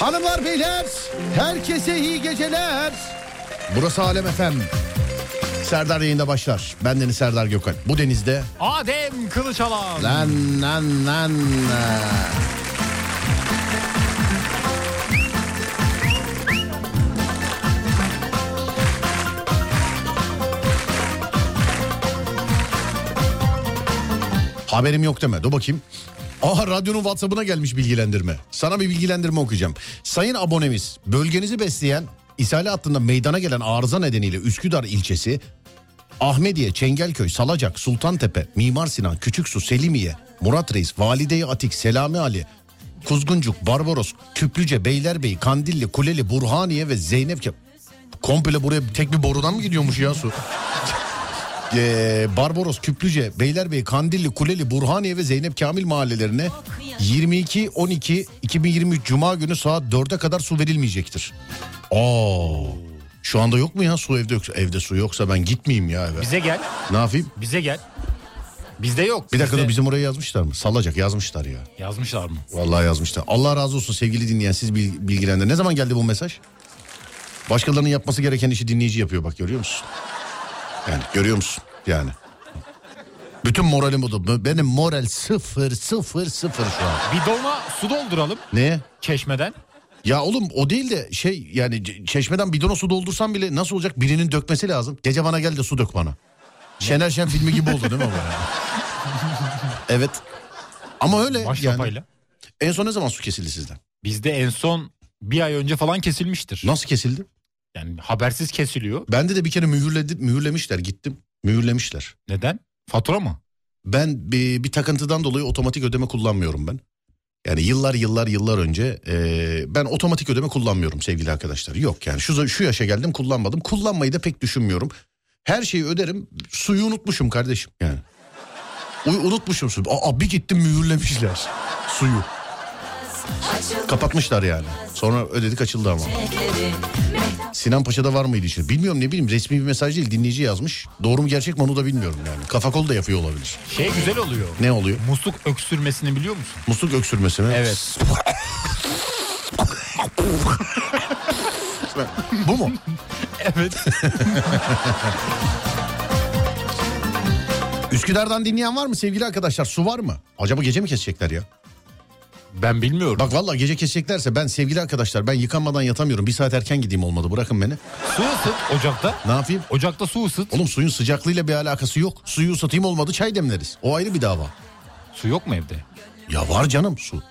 Hanımlar beyler herkese iyi geceler. Burası Alem Efem. Serdar yayında başlar. Ben Deniz Serdar Gökal. Bu denizde Adem Kılıçalan. lan lan lan. Haberim yok deme. Dur bakayım. Aha radyonun WhatsApp'ına gelmiş bilgilendirme. Sana bir bilgilendirme okuyacağım. Sayın abonemiz bölgenizi besleyen ishali hattında meydana gelen arıza nedeniyle Üsküdar ilçesi Ahmediye, Çengelköy, Salacak, Sultantepe, Mimar Sinan, Küçüksu, Selimiye, Murat Reis, Valide-i Atik, Selami Ali, Kuzguncuk, Barbaros, Küplüce, Beylerbeyi, Kandilli, Kuleli, Burhaniye ve Zeynep... Komple buraya tek bir borudan mı gidiyormuş ya su? Ee, Barbaros, Küplüce, Beylerbeyi, Kandilli, Kuleli, Burhaniye ve Zeynep Kamil mahallelerine 22-12-2023 Cuma günü saat 4'e kadar su verilmeyecektir. Oo. Şu anda yok mu ya su evde yoksa? Evde su yoksa ben gitmeyeyim ya eve. Bize gel. Ne yapayım? Bize gel. Bizde yok. Bir dakika bizde. dur bizim oraya yazmışlar mı? Salacak yazmışlar ya. Yazmışlar mı? Vallahi yazmışlar. Allah razı olsun sevgili dinleyen siz bil- bilgilendirin. Ne zaman geldi bu mesaj? Başkalarının yapması gereken işi dinleyici yapıyor bak görüyor musun? Yani görüyor musun? Yani. Bütün moralim budur. Benim moral sıfır sıfır sıfır şu an. Bidona su dolduralım Ne? çeşmeden. Ya oğlum o değil de şey yani c- çeşmeden bidona su doldursam bile nasıl olacak? Birinin dökmesi lazım. Gece bana gel de su dök bana. Şener Şen filmi gibi oldu değil mi bu? ya? evet. Ama öyle Baş yani. lapayla. En son ne zaman su kesildi sizden? Bizde en son bir ay önce falan kesilmiştir. Nasıl kesildi? Yani habersiz kesiliyor. Bende de bir kere mühürledi, mühürlemişler gittim. Mühürlemişler. Neden? Fatura mı? Ben bir, bir takıntıdan dolayı otomatik ödeme kullanmıyorum ben. Yani yıllar yıllar yıllar önce e, ben otomatik ödeme kullanmıyorum sevgili arkadaşlar. Yok yani şu şu yaşa geldim kullanmadım. Kullanmayı da pek düşünmüyorum. Her şeyi öderim. Suyu unutmuşum kardeşim yani. U- unutmuşum suyu. Aa bir gittim mühürlemişler suyu. Kapatmışlar yani. Sonra ödedik açıldı ama. Sinan Paşa'da var mıydı işte? Bilmiyorum ne bileyim resmi bir mesaj değil dinleyici yazmış. Doğru mu gerçek mi onu da bilmiyorum yani. Kafa kol da yapıyor olabilir. Şey güzel oluyor. Ne oluyor? Musluk öksürmesini biliyor musun? Musluk öksürmesi mi? Evet. Bu mu? evet. Üsküdar'dan dinleyen var mı sevgili arkadaşlar? Su var mı? Acaba gece mi kesecekler ya? Ben bilmiyorum. Bak valla gece keseceklerse ben sevgili arkadaşlar ben yıkanmadan yatamıyorum. Bir saat erken gideyim olmadı bırakın beni. Su ısıt ocakta. Ne yapayım? Ocakta su ısıt. Oğlum suyun sıcaklığıyla bir alakası yok. Suyu ısıtayım olmadı çay demleriz. O ayrı bir dava. Su yok mu evde? Ya var canım su.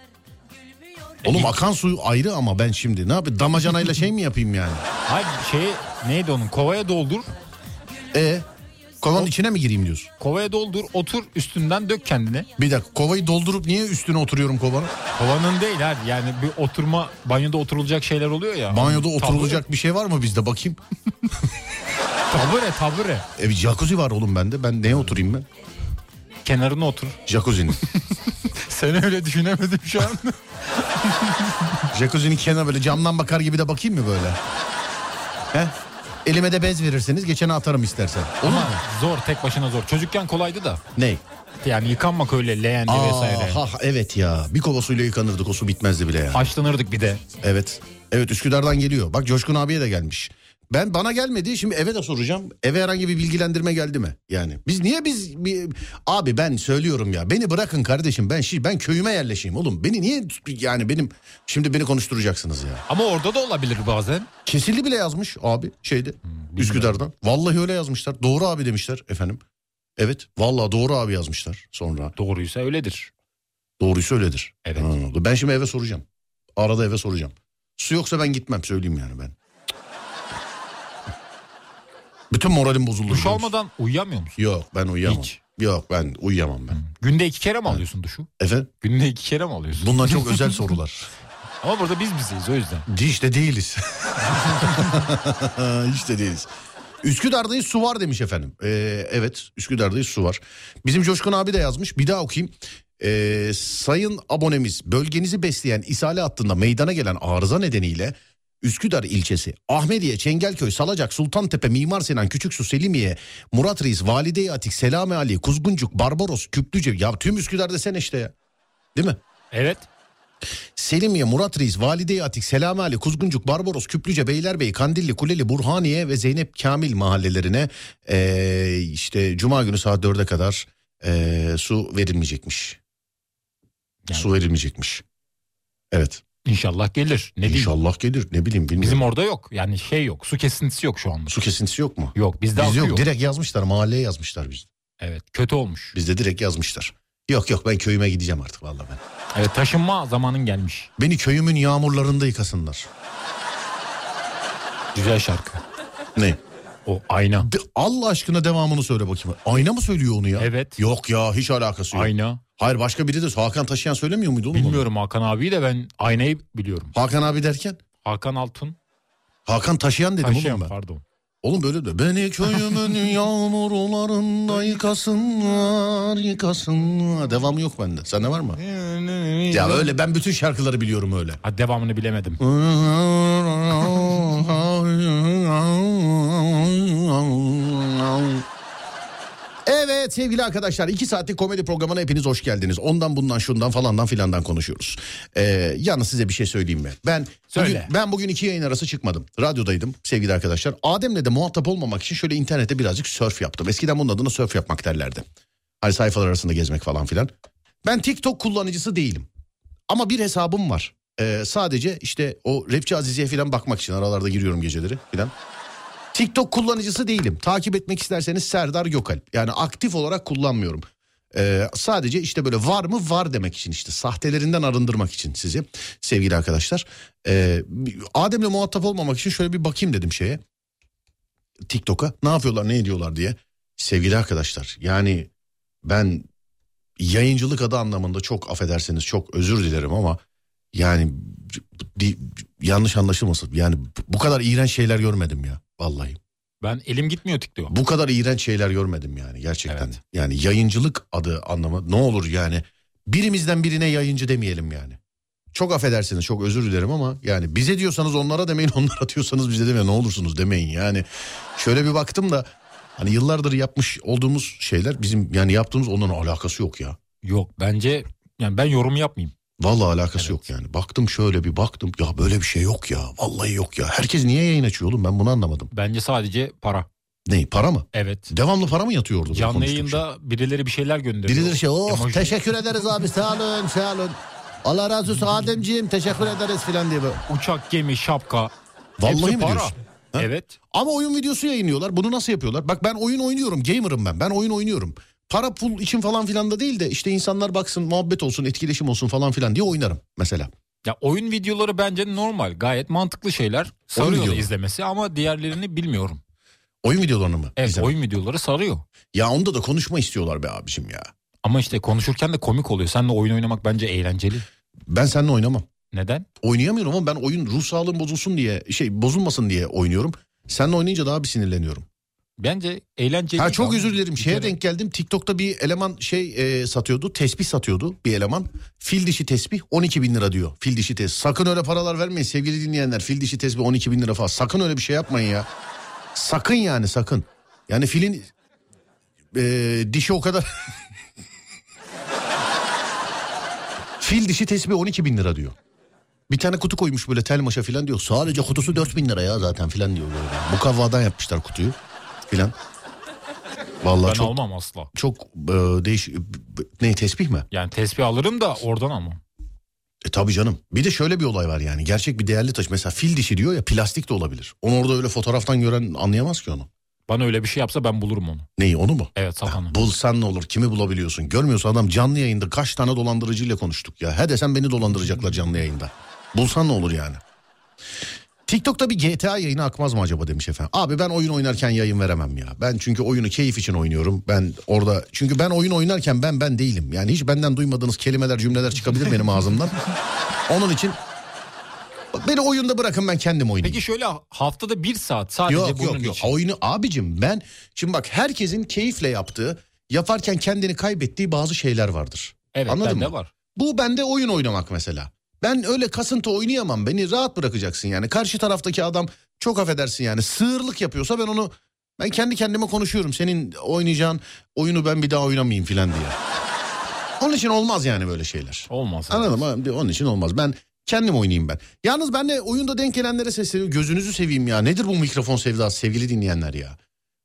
Oğlum akan suyu ayrı ama ben şimdi ne yapayım? Damacanayla şey mi yapayım yani? Hayır şey neydi onun? Kovaya doldur. E kovanın içine mi gireyim diyorsun? Kovaya doldur. Otur üstünden dök kendine. Bir dakika kovayı doldurup niye üstüne oturuyorum kovanın? Kovanın değil her yani bir oturma banyoda oturulacak şeyler oluyor ya. Banyoda Tabure- oturulacak bir şey var mı bizde bakayım? Tabure tabure. E bir jacuzzi var oğlum bende. Ben neye oturayım ben? Kenarına otur. Jacuzzi'nin. Seni öyle düşünemedim şu an. Jacuzzi'nin kenarına böyle camdan bakar gibi de bakayım mı böyle? He? Elime de bez verirseniz geçene atarım istersen. Olur mu? Ama zor tek başına zor. Çocukken kolaydı da. Ney? Yani yıkanmak öyle leğendi vesaire. Aa, ha, evet ya. Bir kova suyla yıkanırdık o su bitmezdi bile ya. Haşlanırdık bir de. Evet. Evet Üsküdar'dan geliyor. Bak Coşkun abiye de gelmiş. Ben bana gelmedi. Şimdi eve de soracağım. Eve herhangi bir bilgilendirme geldi mi? Yani biz niye biz bir- abi ben söylüyorum ya. Beni bırakın kardeşim. Ben şi- ben köyüme yerleşeyim oğlum. Beni niye yani benim şimdi beni konuşturacaksınız ya. Ama orada da olabilir bazen. Kesildi bile yazmış abi şeyde Üsküdar'dan. Vallahi öyle yazmışlar. Doğru abi demişler efendim. Evet vallahi doğru abi yazmışlar sonra. Doğruysa öyledir. Doğruysa öyledir. Evet. Ha, ben şimdi eve soracağım. Arada eve soracağım. Su yoksa ben gitmem söyleyeyim yani ben. Bütün moralim bozuldu. Duş biliyor musun? almadan uyuyamıyor musun? Yok ben uyuyamam. Hiç. Yok ben uyuyamam ben. Günde iki kere mi alıyorsun duşu? Efendim Günde iki kere mi alıyorsun? bunlar çok özel sorular. Ama burada biz bizeyiz o yüzden. Hiç de değiliz. Hiç de değiliz. Üsküdar'dayız su var demiş efendim. Ee, evet Üsküdar'dayız su var. Bizim Coşkun abi de yazmış. Bir daha okuyayım. Ee, sayın abonemiz bölgenizi besleyen ishale hattında meydana gelen arıza nedeniyle Üsküdar ilçesi, Ahmediye, Çengelköy, Salacak, Sultantepe, Mimar Sinan, Küçüksu, Selimiye, Murat Reis, Valide-i Atik, Selami Ali, Kuzguncuk, Barbaros, Küplüce. Ya tüm Üsküdar desene işte ya. Değil mi? Evet. Selimiye, Murat Reis, Valide-i Atik, Selami Ali, Kuzguncuk, Barbaros, Küplüce, Beylerbeyi, Kandilli, Kuleli, Burhaniye ve Zeynep Kamil mahallelerine ee, işte cuma günü saat 4'e kadar ee, su verilmeyecekmiş. Yani. Su verilmeyecekmiş. Evet. İnşallah gelir. Ne diyeyim? İnşallah gelir. Ne bileyim bilmiyorum. Bizim orada yok. Yani şey yok. Su kesintisi yok şu anda. Su kesintisi yok mu? Yok bizde Biz akıyor. yok. Direkt yazmışlar. Mahalleye yazmışlar biz. Evet kötü olmuş. Bizde direkt yazmışlar. Yok yok ben köyüme gideceğim artık vallahi ben. Evet taşınma zamanın gelmiş. Beni köyümün yağmurlarında yıkasınlar. Güzel şarkı. Ne? O ayna. De- Allah aşkına devamını söyle bakayım. Ayna mı söylüyor onu ya? Evet. Yok ya hiç alakası yok. Ayna. Hayır başka biri de Hakan Taşıyan söylemiyor muydu oğlum? onu? Bilmiyorum Hakan abiyi de ben aynayı biliyorum. Hakan abi derken? Hakan Altun. Hakan Taşıyan dedim Taşıyan oğlum ben. pardon. Oğlum böyle de. Beni köyümün yağmurlarında yıkasınlar yıkasınlar. Devamı yok bende. Sende var mı? Ya öyle ben bütün şarkıları biliyorum öyle. Ha, devamını bilemedim. Evet sevgili arkadaşlar iki saatlik komedi programına hepiniz hoş geldiniz. Ondan bundan şundan falandan filandan konuşuyoruz. Ee, yalnız size bir şey söyleyeyim mi? Ben Söyle. bugün, ben bugün iki yayın arası çıkmadım. Radyodaydım sevgili arkadaşlar. Adem'le de muhatap olmamak için şöyle internette birazcık sörf yaptım. Eskiden bunun adına sörf yapmak derlerdi. Hani sayfalar arasında gezmek falan filan. Ben TikTok kullanıcısı değilim. Ama bir hesabım var. Ee, sadece işte o rapçi Azize'ye falan bakmak için aralarda giriyorum geceleri falan. TikTok kullanıcısı değilim. Takip etmek isterseniz Serdar Gökalp. Yani aktif olarak kullanmıyorum. Ee, sadece işte böyle var mı var demek için işte sahtelerinden arındırmak için sizi sevgili arkadaşlar. Ee, Adem'le muhatap olmamak için şöyle bir bakayım dedim şeye. TikTok'a ne yapıyorlar ne ediyorlar diye. Sevgili arkadaşlar yani ben yayıncılık adı anlamında çok affedersiniz çok özür dilerim ama yani di- yanlış anlaşılmasın yani bu kadar iğrenç şeyler görmedim ya vallahi. Ben elim gitmiyor TikTok'a. Bu kadar iğrenç şeyler görmedim yani gerçekten. Evet. Yani yayıncılık adı anlamı ne olur yani birimizden birine yayıncı demeyelim yani. Çok affedersiniz çok özür dilerim ama yani bize diyorsanız onlara demeyin onlara diyorsanız bize demeyin ne olursunuz demeyin yani. Şöyle bir baktım da hani yıllardır yapmış olduğumuz şeyler bizim yani yaptığımız onların alakası yok ya. Yok bence yani ben yorum yapmayayım. Vallahi alakası Evet. yok yani. Baktım şöyle bir baktım. Ya böyle bir şey yok ya. Vallahi yok ya. Herkes niye yayın açıyor oğlum ben bunu anlamadım. Bence sadece para. Ne para mı? Evet. Devamlı para mı yatıyor orada? Canlı konuştuğum şey? yayında birileri bir şeyler gönderiyor. Birileri şey oh Emoji. teşekkür ederiz abi sağ olun sağ olun. Allah razı olsun Ademciğim teşekkür ederiz filan diye böyle. Uçak, gemi, şapka. Vallahi Hepsi mi para. diyorsun? Ha? Evet. Ama oyun videosu yayınlıyorlar. Bunu nasıl yapıyorlar? Bak ben oyun oynuyorum. Gamer'ım ben. Ben oyun oynuyorum. Para pul için falan filan da değil de işte insanlar baksın muhabbet olsun etkileşim olsun falan filan diye oynarım mesela. Ya oyun videoları bence normal. Gayet mantıklı şeyler. Sarıyor videoları. izlemesi ama diğerlerini bilmiyorum. Oyun videolarını mı? Evet izlemek? oyun videoları sarıyor. Ya onda da konuşma istiyorlar be abicim ya. Ama işte konuşurken de komik oluyor. Seninle oyun oynamak bence eğlenceli. Ben seninle oynamam. Neden? Oynayamıyorum ama ben oyun ruh sağlığım bozulsun diye şey bozulmasın diye oynuyorum. Seninle oynayınca daha bir sinirleniyorum. Bence eğlenceli. Ha çok Ama özür dilerim. bir Şeye kere- denk geldim. TikTok'ta bir eleman şey e, satıyordu. Tesbih satıyordu bir eleman. Fil dişi tesbih 12 bin lira diyor. Fil dişi tesbih. Sakın öyle paralar vermeyin sevgili dinleyenler. Fil dişi tesbih 12 bin lira falan. Sakın öyle bir şey yapmayın ya. Sakın yani sakın. Yani filin e, dişi o kadar... Fil dişi tesbih 12 bin lira diyor. Bir tane kutu koymuş böyle tel maşa filan diyor. Sadece kutusu 4 bin lira ya zaten filan diyor. Böyle. Mukavvadan yapmışlar kutuyu filan. Vallahi Ben çok almam asla. çok e, değiş ne tesbih mi? Yani tespih alırım da oradan almam. E tabii canım. Bir de şöyle bir olay var yani. Gerçek bir değerli taş. Mesela fil dişi diyor ya plastik de olabilir. Onu orada öyle fotoğraftan gören anlayamaz ki onu. Bana öyle bir şey yapsa ben bulurum onu. Neyi onu mu? Evet satanı. Bulsan ne olur? Kimi bulabiliyorsun? Görmüyorsun adam canlı yayında kaç tane dolandırıcıyla konuştuk ya. He desen beni dolandıracaklar canlı yayında. Bulsan ne olur yani? TikTok'ta bir GTA yayını akmaz mı acaba demiş efendim. Abi ben oyun oynarken yayın veremem ya. Ben çünkü oyunu keyif için oynuyorum. Ben orada çünkü ben oyun oynarken ben ben değilim. Yani hiç benden duymadığınız kelimeler cümleler çıkabilir benim ağzımdan. Onun için beni oyunda bırakın ben kendim oynayayım. Peki şöyle haftada bir saat sadece Yok bunun yok yok. için. Oyunu abicim ben şimdi bak herkesin keyifle yaptığı yaparken kendini kaybettiği bazı şeyler vardır. Evet Anladın bende mı? var. Bu bende oyun oynamak mesela. Ben öyle kasıntı oynayamam. Beni rahat bırakacaksın yani. Karşı taraftaki adam çok affedersin yani sığırlık yapıyorsa ben onu ben kendi kendime konuşuyorum. Senin oynayacağın oyunu ben bir daha oynamayayım filan diye. Onun için olmaz yani böyle şeyler. Olmaz. Anladım abi. Onun için olmaz. Ben Kendim oynayayım ben. Yalnız ben de oyunda denk gelenlere sesleniyorum. Gözünüzü seveyim ya. Nedir bu mikrofon sevdası sevgili dinleyenler ya?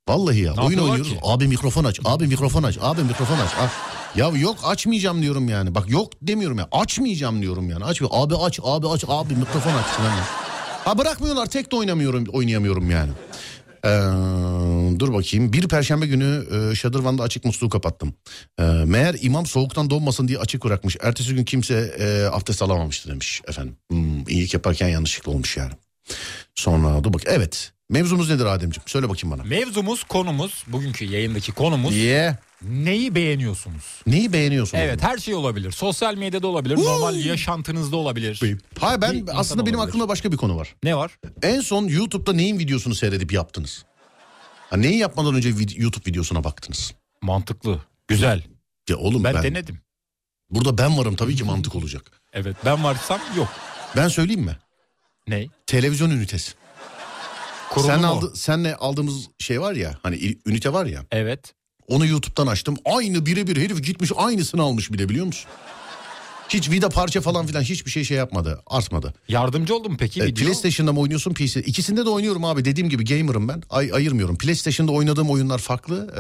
Vallahi ya Ne oyun yapıyorlar oynuyoruz. ki? Abi mikrofon aç. Abi mikrofon aç. Abi mikrofon aç. Ah. Ya yok açmayacağım diyorum yani. Bak yok demiyorum ya. Açmayacağım diyorum yani. Aç abi aç abi aç abi mikrofon aç falan. ya. Ha bırakmıyorlar. Tek de oynamıyorum oynayamıyorum yani. Ee, dur bakayım. Bir perşembe günü e, Şadırvan'da açık musluğu kapattım. Ee, meğer imam soğuktan donmasın diye açık bırakmış. Ertesi gün kimse e, abdest alamamıştı demiş efendim. Hmm, iyilik yaparken yanlışlıkla olmuş yani. Sonra dur bak. Evet. Mevzumuz nedir Ademciğim? Söyle bakayım bana. Mevzumuz, konumuz, bugünkü yayındaki konumuz Ye. neyi beğeniyorsunuz? Neyi beğeniyorsun? Evet her şey olabilir. Sosyal medyada olabilir, normal yaşantınızda olabilir. Hayır ben Bir insan aslında benim olabilir. aklımda başka bir konu var. Ne var? En son YouTube'da neyin videosunu seyredip yaptınız? Ha, neyi yapmadan önce vid- YouTube videosuna baktınız? Mantıklı, güzel. Ya oğlum Ben, ben, denedim. burada ben varım tabii ki mantık olacak. Evet ben varsam yok. Ben söyleyeyim mi? Ne? Televizyon ünitesi. Kurulu Sen mu? aldı, senle aldığımız şey var ya hani il- ünite var ya Evet. onu YouTube'dan açtım. Aynı birebir herif gitmiş aynısını almış bile biliyor musun? Hiç vida parça falan filan hiçbir şey şey yapmadı artmadı. Yardımcı oldun mu peki? E, video? PlayStation'da mı oynuyorsun PC? İkisinde de oynuyorum abi dediğim gibi gamer'ım ben Ay, ayırmıyorum. PlayStation'da oynadığım oyunlar farklı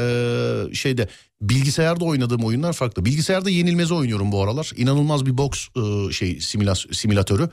Ee, şeyde bilgisayarda oynadığım oyunlar farklı. Bilgisayarda yenilmezi oynuyorum bu aralar İnanılmaz bir boks e, şey simülas- simülatörü.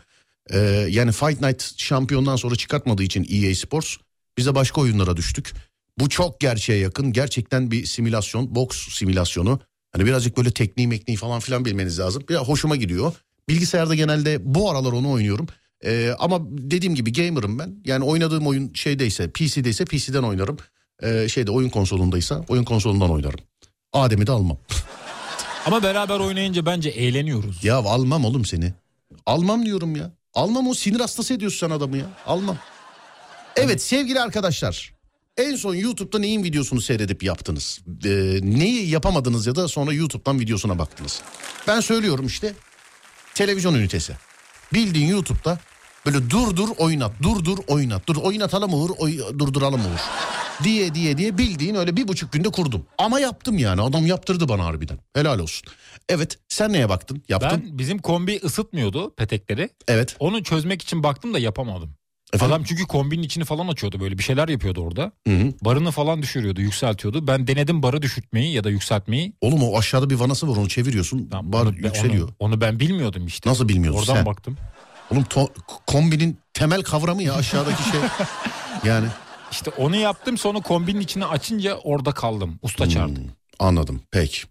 Ee, yani Fight Night şampiyondan sonra çıkartmadığı için EA Sports biz de başka oyunlara düştük. Bu çok gerçeğe yakın gerçekten bir simülasyon boks simülasyonu. Hani birazcık böyle tekniği mekniği falan filan bilmeniz lazım. Biraz hoşuma gidiyor. Bilgisayarda genelde bu aralar onu oynuyorum. Ee, ama dediğim gibi gamer'ım ben. Yani oynadığım oyun şeydeyse PC'deyse PC'den oynarım. Ee, şeyde oyun konsolundaysa oyun konsolundan oynarım. Adem'i de almam. Ama beraber oynayınca bence eğleniyoruz. ya almam oğlum seni. Almam diyorum ya. Almam o sinir hastası ediyorsun sen adamı ya. Almam. Evet sevgili arkadaşlar. En son YouTube'da neyin videosunu seyredip yaptınız? Ee, neyi yapamadınız ya da sonra YouTube'dan videosuna baktınız? Ben söylüyorum işte televizyon ünitesi. Bildiğin YouTube'da böyle dur dur oynat, dur dur oynat, dur oynatalım Uğur, oy, durduralım Uğur. Diye diye diye bildiğin öyle bir buçuk günde kurdum. Ama yaptım yani adam yaptırdı bana harbiden. Helal olsun. Evet sen neye baktın? Yaptın. Ben bizim kombi ısıtmıyordu petekleri. Evet. Onu çözmek için baktım da yapamadım. Efendim? Adam çünkü kombinin içini falan açıyordu böyle bir şeyler yapıyordu orada. Hı hı. Barını falan düşürüyordu, yükseltiyordu. Ben denedim barı düşürtmeyi ya da yükseltmeyi. Oğlum o aşağıda bir vanası var onu çeviriyorsun. Ben- bar onu- ben- yükseliyor. Onu, onu ben bilmiyordum işte. Nasıl bilmiyorsun Oradan sen? baktım. Oğlum to- kombinin temel kavramı ya aşağıdaki şey. Yani İşte onu yaptım sonra kombinin içini açınca orada kaldım. Usta çağırdı. Hmm, anladım. Peki.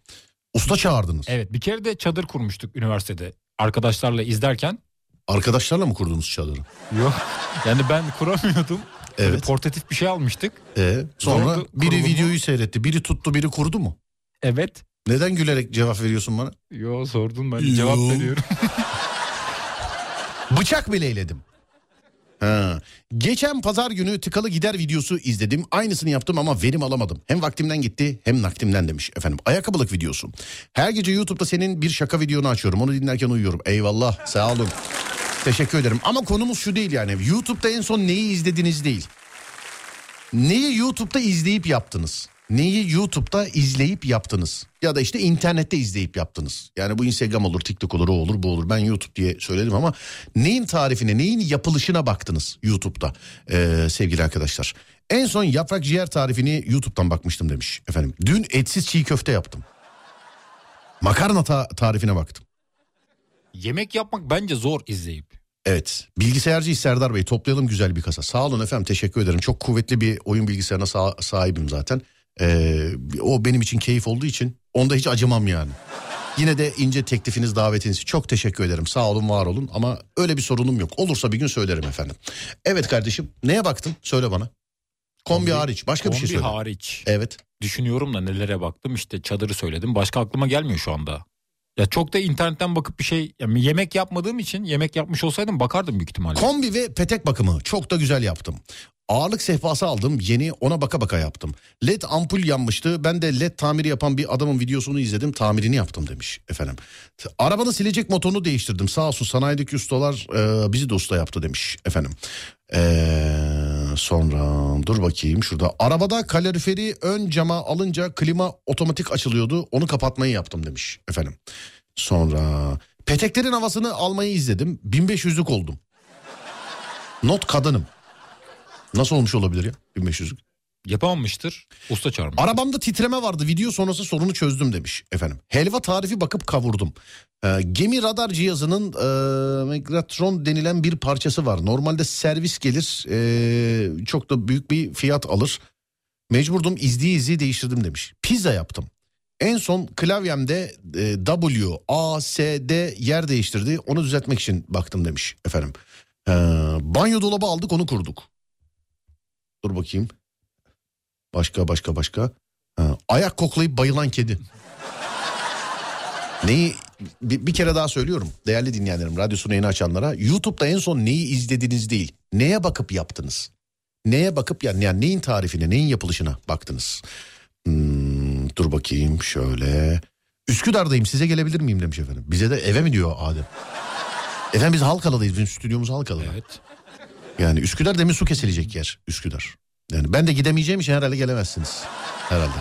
Usta çağırdınız. Evet bir kere de çadır kurmuştuk üniversitede. Arkadaşlarla izlerken. Arkadaşlarla mı kurdunuz çadırı? Yok. Yani ben kuramıyordum. Böyle Evet. portatif bir şey almıştık. Ee, sonra Zordu, biri kurulumu- videoyu seyretti, biri tuttu, biri kurdu mu? Evet. Neden gülerek cevap veriyorsun bana? Yo sordum ben. Yo. Cevap veriyorum. Bıçak bile eyledim. Ha. Geçen pazar günü tıkalı gider videosu izledim. Aynısını yaptım ama verim alamadım. Hem vaktimden gitti hem naktimden demiş efendim. Ayakkabılık videosu. Her gece YouTube'da senin bir şaka videonu açıyorum. Onu dinlerken uyuyorum. Eyvallah sağ olun. Teşekkür ederim. Ama konumuz şu değil yani. YouTube'da en son neyi izlediniz değil. Neyi YouTube'da izleyip yaptınız? Neyi YouTube'da izleyip yaptınız? Ya da işte internette izleyip yaptınız. Yani bu Instagram olur, TikTok olur, o olur, bu olur. Ben YouTube diye söyledim ama neyin tarifine, neyin yapılışına baktınız YouTube'da ee, sevgili arkadaşlar? En son yaprak ciğer tarifini YouTube'dan bakmıştım demiş efendim. Dün etsiz çiğ köfte yaptım. Makarna ta- tarifine baktım. Yemek yapmak bence zor izleyip. Evet. Bilgisayarcı Serdar Bey toplayalım güzel bir kasa. Sağ olun efendim teşekkür ederim. Çok kuvvetli bir oyun bilgisayarına sah- sahibim zaten. Ee, o benim için keyif olduğu için onda hiç acımam yani. Yine de ince teklifiniz davetiniz için çok teşekkür ederim. Sağ olun var olun ama öyle bir sorunum yok. Olursa bir gün söylerim efendim. Evet kardeşim neye baktın söyle bana. Kombi, Kombi- hariç başka bir şey Kombi söyle. hariç. evet. Düşünüyorum da nelere baktım. İşte çadırı söyledim. Başka aklıma gelmiyor şu anda. Ya çok da internetten bakıp bir şey yani yemek yapmadığım için yemek yapmış olsaydım bakardım büyük ihtimalle. Kombi ve petek bakımı çok da güzel yaptım. Ağırlık sehpası aldım yeni ona baka baka yaptım. LED ampul yanmıştı ben de LED tamiri yapan bir adamın videosunu izledim tamirini yaptım demiş efendim. Arabanın silecek motorunu değiştirdim sağ olsun sanayideki ustalar e, bizi de usta yaptı demiş efendim. Eee, sonra dur bakayım şurada arabada kaloriferi ön cama alınca klima otomatik açılıyordu onu kapatmayı yaptım demiş efendim. Sonra Peteklerin havasını almayı izledim. 1500'lük oldum. Not kadınım. Nasıl olmuş olabilir ya 1500'lük? Yapamamıştır. Usta çağırmış. Arabamda titreme vardı video sonrası sorunu çözdüm demiş efendim. Helva tarifi bakıp kavurdum. Ee, gemi radar cihazının e, Megatron denilen bir parçası var. Normalde servis gelir e, çok da büyük bir fiyat alır. Mecburdum izliye izliye değiştirdim demiş. Pizza yaptım. En son klavyemde e, W, A, S, D yer değiştirdi. Onu düzeltmek için baktım demiş efendim. Ee, banyo dolabı aldık onu kurduk. Dur bakayım. Başka başka başka. Ha, ayak koklayıp bayılan kedi. Neyi bir, bir kere daha söylüyorum değerli dinleyenlerim radyosunu yeni açanlara YouTube'da en son neyi izlediniz değil neye bakıp yaptınız neye bakıp yani, yani neyin tarifine neyin yapılışına baktınız Hmm, dur bakayım şöyle Üsküdar'dayım size gelebilir miyim demiş efendim bize de eve mi diyor Adem efendim biz Halkalı'dayız bizim stüdyomuz Halkalı'da Evet. yani Üsküdar demir su kesilecek yer. Üsküdar. Yani ben de gidemeyeceğim için herhalde gelemezsiniz. Herhalde.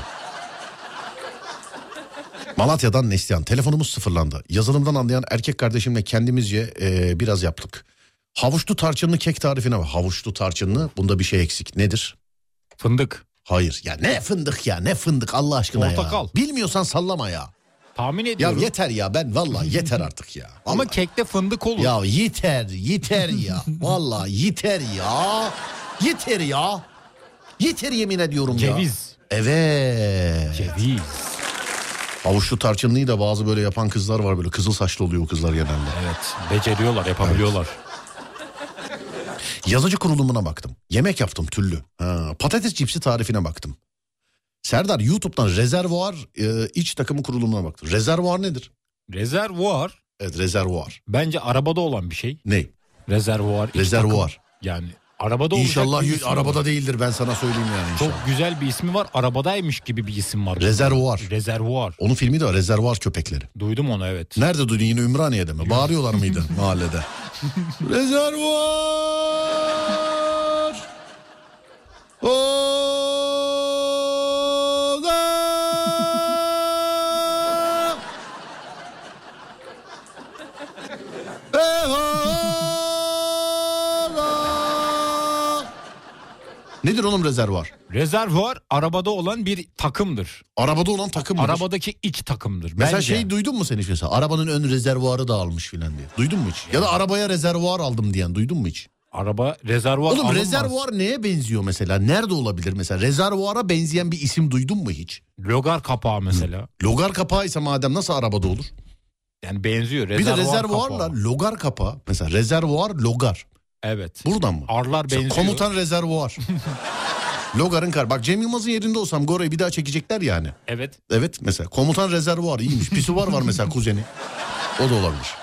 Malatya'dan Neslihan. Telefonumuz sıfırlandı. Yazılımdan anlayan erkek kardeşimle kendimizce eee, biraz yaptık. Havuçlu tarçınlı kek tarifine bak. Havuçlu tarçınlı bunda bir şey eksik. Nedir? Fındık. Hayır. Ya ne fındık ya ne fındık Allah aşkına Portakal. ya. Bilmiyorsan sallama ya. Tahmin Ya ediyorum. yeter ya ben vallahi yeter artık ya. Ama kekte fındık olur. Ya yeter, yeter ya. Vallahi yeter ya. Yeter ya. Yeter yemin ediyorum ya. Ceviz. Evet. Ceviz. Havuçlu tarçınlıyı da bazı böyle yapan kızlar var böyle kızıl saçlı oluyor o kızlar genelde. Evet. Beceriyorlar, yapabiliyorlar. Yazıcı kurulumuna baktım. Yemek yaptım türlü. Ha, patates cipsi tarifine baktım. Serdar YouTube'dan rezervuar e, iç takımı kurulumuna baktım. Rezervuar nedir? Rezervuar Evet rezervuar. bence arabada olan bir şey. Ne? Rezervuar. iki takım. Rezervuar. Yani arabada olacak İnşallah bir y- ismi arabada var. değildir ben sana söyleyeyim yani inşallah. Çok güzel bir ismi var. Arabadaymış gibi bir isim var. Rezervuar. Rezervuar. Onun filmi de var rezervuar köpekleri. Duydum onu evet. Nerede duydun yine Ümraniye'de mi? Bağırıyorlar mıydı mahallede? Rezervuar! Oda! Ehala! Nedir oğlum rezervuar? Rezervuar arabada olan bir takımdır. Arabada olan takım mıdır? Arabadaki iç takımdır. Mesela bence. şey duydun mu sen hiç mesela? Arabanın ön rezervuarı dağılmış filan diye. Duydun mu hiç? Ya da arabaya rezervuar aldım diyen duydun mu hiç? Araba rezervuar Oğlum alınmaz. rezervuar neye benziyor mesela? Nerede olabilir mesela? Rezervuara benzeyen bir isim duydun mu hiç? Logar kapağı mesela. Logar kapağı ise madem nasıl arabada olur? Yani benziyor. Bir de Rezervuar rezervuarla kapağı. logar kapağı. Mesela rezervuar logar. Evet. Buradan mı? Arlar Mesela benziyor. Komutan rezervuar. Logarın kar. Bak Cem Yılmaz'ın yerinde olsam Gora'yı bir daha çekecekler yani. Evet. Evet mesela komutan rezervuar iyiymiş. Pisuvar var mesela kuzeni. O da olabilir.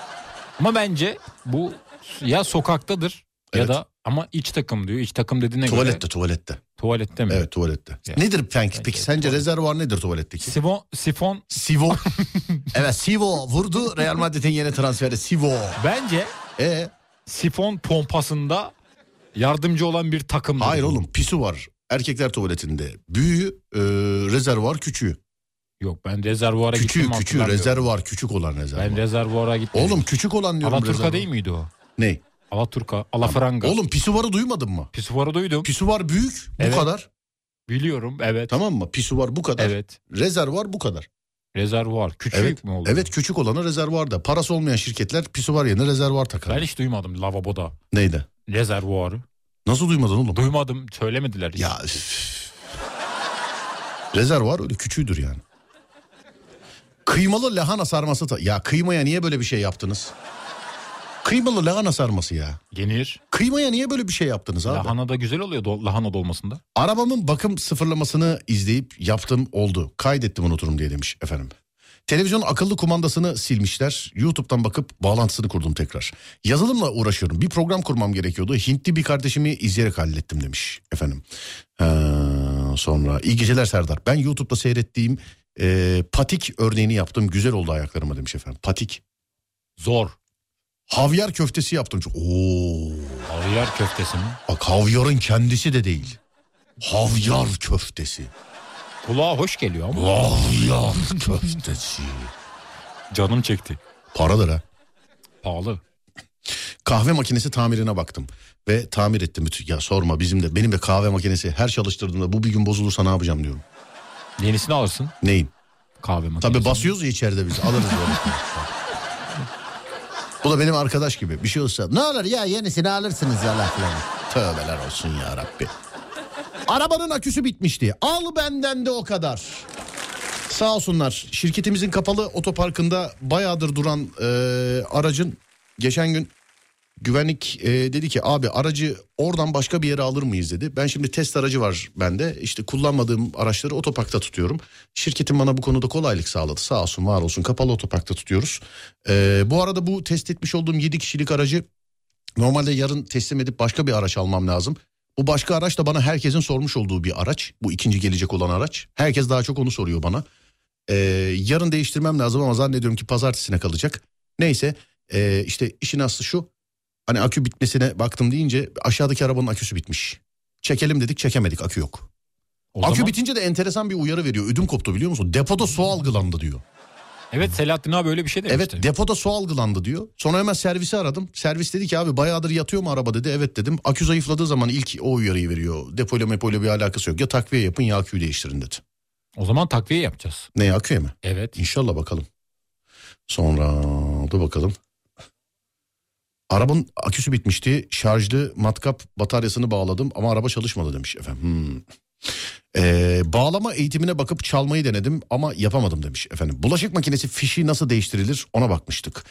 Ama bence bu ya sokaktadır Evet. ya da ama iç takım diyor. İç takım dediğine Tuvalette göre tuvalette. tuvalette mi? Evet tuvalette. Ya. Nedir peki, peki Bence sence tuvalet. rezervuar nedir tuvaletteki? Sifon, sifon Sivo. evet Sivo vurdu Real Madrid'in yeni transferi Sivo. bence E sifon pompasında yardımcı olan bir takımdır. hayır bu. oğlum pisu var erkekler tuvaletinde. Büyüğü e, rezervuar küçüğü. Yok ben rezervuara Küçüğü gittim küçüğü rezervuar küçük olan rezervuar. Ben rezervuara gittim. oğlum küçük olan diyorum Alaturka rezervuar. değil miydi o? Ne? Alaturka, Alafranga. Oğlum. Oğlum pisuvarı duymadın mı? Pisuvarı duydum. Pisuvar büyük bu Evet. kadar. Biliyorum evet. Tamam mı? Pisuvar bu kadar. Evet. Rezervuar bu kadar. Rezervuar. Küçük Evet. mü oluyor? Evet küçük olana rezervuar da. Parası olmayan şirketler pisuvar yerine rezervuar takar. Ben hiç duymadım lavaboda. Neydi? Rezervuarı. Nasıl duymadın oğlum? Duymadım. Söylemediler. hiç. Ya üf. rezervuar öyle küçüğüdür yani. Kıymalı lahana sarması ta- ya kıymaya niye böyle bir şey yaptınız? Kıymalı lahana sarması ya. Yenir. Kıymaya niye böyle bir şey yaptınız abi? Lahana da güzel oluyor do- lahana dolmasında. Arabamın bakım sıfırlamasını izleyip yaptım oldu. Kaydettim unuturum diye demiş efendim. Televizyon akıllı kumandasını silmişler. YouTube'dan bakıp bağlantısını kurdum tekrar. Yazılımla uğraşıyorum. Bir program kurmam gerekiyordu. Hintli bir kardeşimi izleyerek hallettim demiş efendim. Ee, sonra iyi geceler Serdar. Ben YouTube'da seyrettiğim e, patik örneğini yaptım. Güzel oldu ayaklarıma demiş efendim. Patik. Zor. Havyar köftesi yaptım. Çok- Oo. Havyar köftesi mi? Bak havyarın kendisi de değil. Havyar köftesi. Kulağa hoş geliyor ama. Vah ya köftesi. Canım çekti. Paradır ha. Pahalı. Kahve makinesi tamirine baktım ve tamir ettim bütün. Ya sorma bizim de benim de kahve makinesi her çalıştırdığımda bu bir gün bozulursa ne yapacağım diyorum. Yenisini alırsın Neyin? kahve makinesi. Tabii basıyoruz ya içeride biz alırız böyle. Bu da benim arkadaş gibi. Bir şey olsa ne olur ya yenisini alırsınız ya laf falan. Tövbeler olsun ya Rabbi. Arabanın aküsü bitmişti. Al benden de o kadar. Sağ olsunlar. Şirketimizin kapalı otoparkında bayağıdır duran e, aracın geçen gün güvenlik e, dedi ki abi aracı oradan başka bir yere alır mıyız dedi. Ben şimdi test aracı var bende. İşte kullanmadığım araçları otoparkta tutuyorum. Şirketim bana bu konuda kolaylık sağladı. Sağ olsun var olsun kapalı otoparkta tutuyoruz. E, bu arada bu test etmiş olduğum 7 kişilik aracı normalde yarın teslim edip başka bir araç almam lazım. Bu başka araç da bana herkesin sormuş olduğu bir araç. Bu ikinci gelecek olan araç. Herkes daha çok onu soruyor bana. E, yarın değiştirmem lazım ama zannediyorum ki pazartesine kalacak. Neyse e, işte işin aslı şu. Hani akü bitmesine baktım deyince aşağıdaki arabanın aküsü bitmiş. Çekelim dedik çekemedik akü yok. O akü zaman- bitince de enteresan bir uyarı veriyor. Ödüm koptu biliyor musun? Depoda su algılandı diyor. Evet Selahattin abi öyle bir şey demişti. Evet depoda su algılandı diyor. Sonra hemen servisi aradım. Servis dedi ki abi bayağıdır yatıyor mu araba dedi. Evet dedim. Akü zayıfladığı zaman ilk o uyarıyı veriyor. Depoyla mepoyla bir alakası yok. Ya takviye yapın ya aküyü değiştirin dedi. O zaman takviye yapacağız. Ne aküye mi? Evet. İnşallah bakalım. Sonra dur bakalım. Arabanın aküsü bitmişti. Şarjlı matkap bataryasını bağladım ama araba çalışmadı demiş efendim. Hmm. Ee, bağlama eğitimine bakıp çalmayı denedim ama yapamadım demiş efendim. Bulaşık makinesi fişi nasıl değiştirilir ona bakmıştık.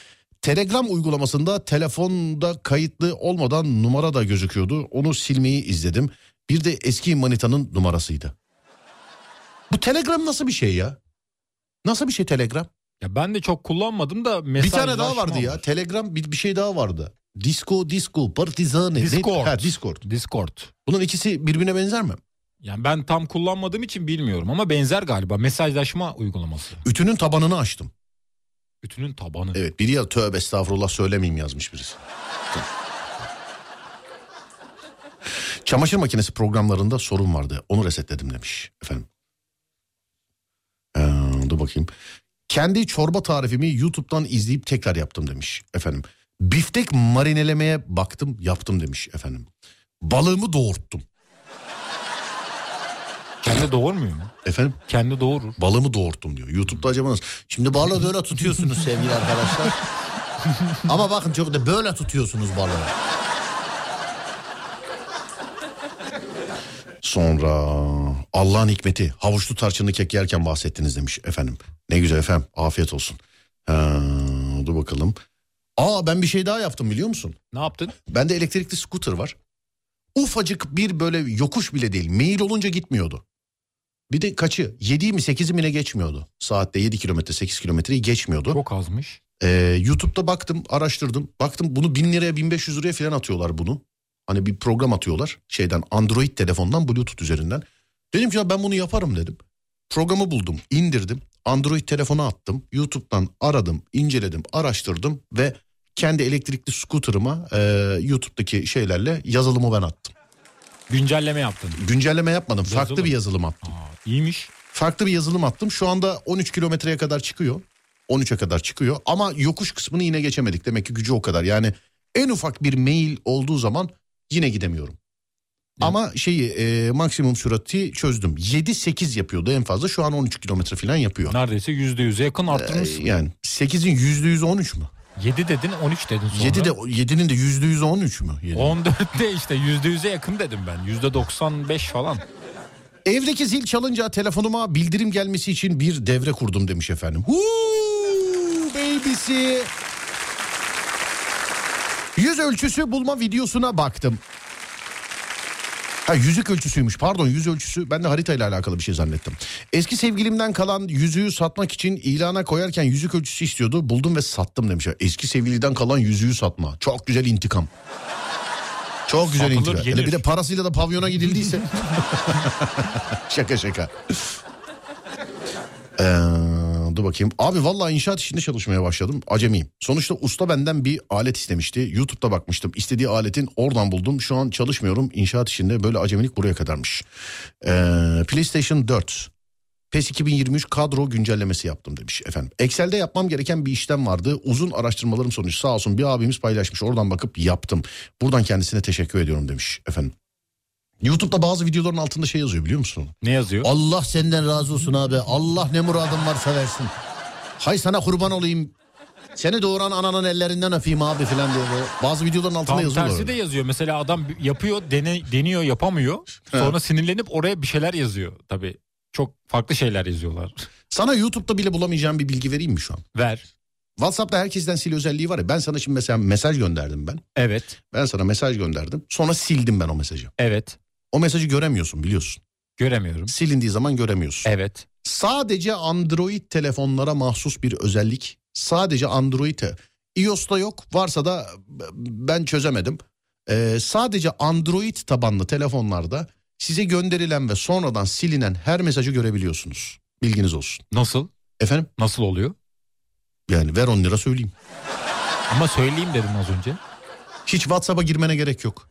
Telegram uygulamasında telefonda kayıtlı olmadan numara da gözüküyordu. Onu silmeyi izledim. Bir de eski manitanın numarasıydı. Bu Telegram nasıl bir şey ya? Nasıl bir şey Telegram? Ya ben de çok kullanmadım da Bir mesajlaşma. tane daha vardı ya. var. Telegram bir, bir şey daha vardı. Disco, disco, partizane. ne- Discord. Ha, Discord. Discord. Bunun ikisi birbirine benzer mi? Yani ben tam kullanmadığım için bilmiyorum ama benzer galiba mesajlaşma uygulaması. Ütünün tabanını açtım. Bütünün tabanı. Evet biri ya tövbe estağfurullah söylemeyeyim yazmış birisi. Çamaşır makinesi programlarında sorun vardı. Onu resetledim demiş efendim. Ee, dur bakayım. Kendi çorba tarifimi YouTube'dan izleyip tekrar yaptım demiş efendim. Biftek marinelemeye baktım yaptım demiş efendim. Balığımı doğurttum Kendi doğurmuyor mu? efendim. Kendi doğurur. Balımı doğurttum diyor. YouTube'da acaba nasıl? Şimdi balığı böyle tutuyorsunuz sevgili arkadaşlar. Ama bakın çok da böyle tutuyorsunuz balığı. Sonra Allah'ın hikmeti havuçlu tarçınlı kek yerken bahsettiniz demiş efendim. Ne güzel efendim afiyet olsun. Ha, dur bakalım. Aa ben bir şey daha yaptım biliyor musun? Ne yaptın? Bende elektrikli scooter var. Ufacık bir böyle yokuş bile değil. Meyil olunca gitmiyordu. Bir de kaçı? 7 mi 8 mi ne geçmiyordu. Saatte 7 kilometre 8 kilometreyi geçmiyordu. Çok azmış. Ee, YouTube'da baktım araştırdım. Baktım bunu 1000 liraya 1500 liraya falan atıyorlar bunu. Hani bir program atıyorlar şeyden Android telefondan Bluetooth üzerinden. Dedim ki ya ben bunu yaparım dedim. Programı buldum indirdim Android telefona attım. YouTube'dan aradım inceledim araştırdım ve kendi elektrikli scooter'ıma e, YouTube'daki şeylerle yazılımı ben attım. Güncelleme yaptın. Güncelleme yapmadım farklı Yazılım. bir yazılım attım. Aa, iyiymiş. Farklı bir yazılım attım. Şu anda 13 kilometreye kadar çıkıyor. 13'e kadar çıkıyor ama yokuş kısmını yine geçemedik. Demek ki gücü o kadar. Yani en ufak bir mail olduğu zaman yine gidemiyorum. Ama şeyi e, maksimum sürati çözdüm. 7-8 yapıyordu en fazla. Şu an 13 kilometre falan yapıyor. Neredeyse yüzde yüze yakın arttırmışsın. E, yani 8'in %100'ü 13 mü? 7 dedin 13 dedin sonra. 7 de 7'nin de %100'ü 13 mü? Yedi. 14'te işte yüzde yüze yakın dedim ben. Yüzde 95 falan. Evdeki zil çalınca telefonuma bildirim gelmesi için bir devre kurdum demiş efendim. Huuu babysi. Yüz ölçüsü bulma videosuna baktım. Ha yüzük ölçüsüymüş pardon yüz ölçüsü ben de haritayla alakalı bir şey zannettim. Eski sevgilimden kalan yüzüğü satmak için ilana koyarken yüzük ölçüsü istiyordu buldum ve sattım demiş. Eski sevgiliden kalan yüzüğü satma çok güzel intikam. Çok güzel Satılır, intikam. Hele yenir. bir de parasıyla da pavyona gidildiyse. şaka şaka. Ee, dur bakayım. Abi vallahi inşaat işinde çalışmaya başladım. Acemiyim. Sonuçta usta benden bir alet istemişti. YouTube'da bakmıştım. İstediği aletin oradan buldum. Şu an çalışmıyorum. İnşaat işinde böyle acemilik buraya kadarmış. Ee, PlayStation 4. PES 2023 kadro güncellemesi yaptım demiş efendim. Excel'de yapmam gereken bir işlem vardı. Uzun araştırmalarım sonucu sağ olsun bir abimiz paylaşmış. Oradan bakıp yaptım. Buradan kendisine teşekkür ediyorum demiş efendim. YouTube'da bazı videoların altında şey yazıyor biliyor musun? Ne yazıyor? Allah senden razı olsun abi. Allah ne muradın varsa versin. Hay sana kurban olayım. Seni doğuran ananın ellerinden öpeyim abi filan diye. böyle. Bazı videoların altında Tam yazıyorlar. tersi öyle. de yazıyor. Mesela adam yapıyor, dene, deniyor, yapamıyor. Sonra sinirlenip oraya bir şeyler yazıyor. Tabii çok farklı şeyler yazıyorlar. Sana YouTube'da bile bulamayacağım bir bilgi vereyim mi şu an? Ver. WhatsApp'ta herkesten sil özelliği var ya. Ben sana şimdi mesela mesaj gönderdim ben. Evet. Ben sana mesaj gönderdim. Sonra sildim ben o mesajı. Evet. O mesajı göremiyorsun biliyorsun. Göremiyorum. Silindiği zaman göremiyorsun. Evet. Sadece Android telefonlara mahsus bir özellik. Sadece Android'e. iOS'ta yok. Varsa da ben çözemedim. Ee, sadece Android tabanlı telefonlarda size gönderilen ve sonradan silinen her mesajı görebiliyorsunuz. Bilginiz olsun. Nasıl? Efendim? Nasıl oluyor? Yani ver 10 lira söyleyeyim. Ama söyleyeyim dedim az önce. Hiç WhatsApp'a girmene gerek yok.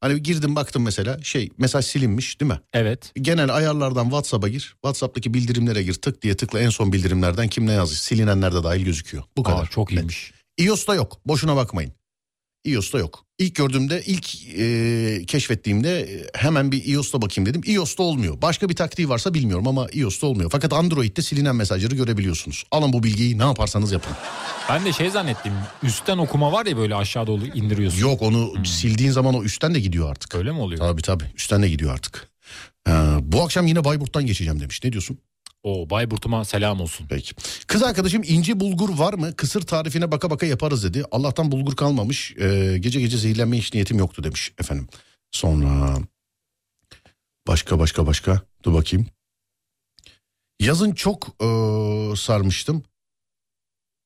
Hani bir girdim baktım mesela şey mesaj silinmiş değil mi? Evet. Genel ayarlardan WhatsApp'a gir. WhatsApp'taki bildirimlere gir. Tık diye tıkla en son bildirimlerden kim ne yazmış silinenler de dahil gözüküyor. Bu kadar. Aa, çok iyiymiş. iOS'ta yok. Boşuna bakmayın. iOS'ta yok. İlk gördüğümde ilk e, keşfettiğimde e, hemen bir iOS'ta bakayım dedim. iOS'ta olmuyor. Başka bir taktiği varsa bilmiyorum ama iOS'ta olmuyor. Fakat Android'de silinen mesajları görebiliyorsunuz. Alın bu bilgiyi ne yaparsanız yapın. Ben de şey zannettim. Üstten okuma var ya böyle aşağı doğru indiriyorsun. Yok onu sildiğin zaman o üstten de gidiyor artık. Öyle mi oluyor? Tabii tabii üstten de gidiyor artık. Ee, bu akşam yine Bayburt'tan geçeceğim demiş. Ne diyorsun? O Bayburt'uma selam olsun. Peki. Kız arkadaşım ince bulgur var mı? Kısır tarifine baka baka yaparız dedi. Allah'tan bulgur kalmamış. Ee, gece gece zehirlenme hiç niyetim yoktu demiş efendim. Sonra başka başka başka dur bakayım. Yazın çok ee, sarmıştım.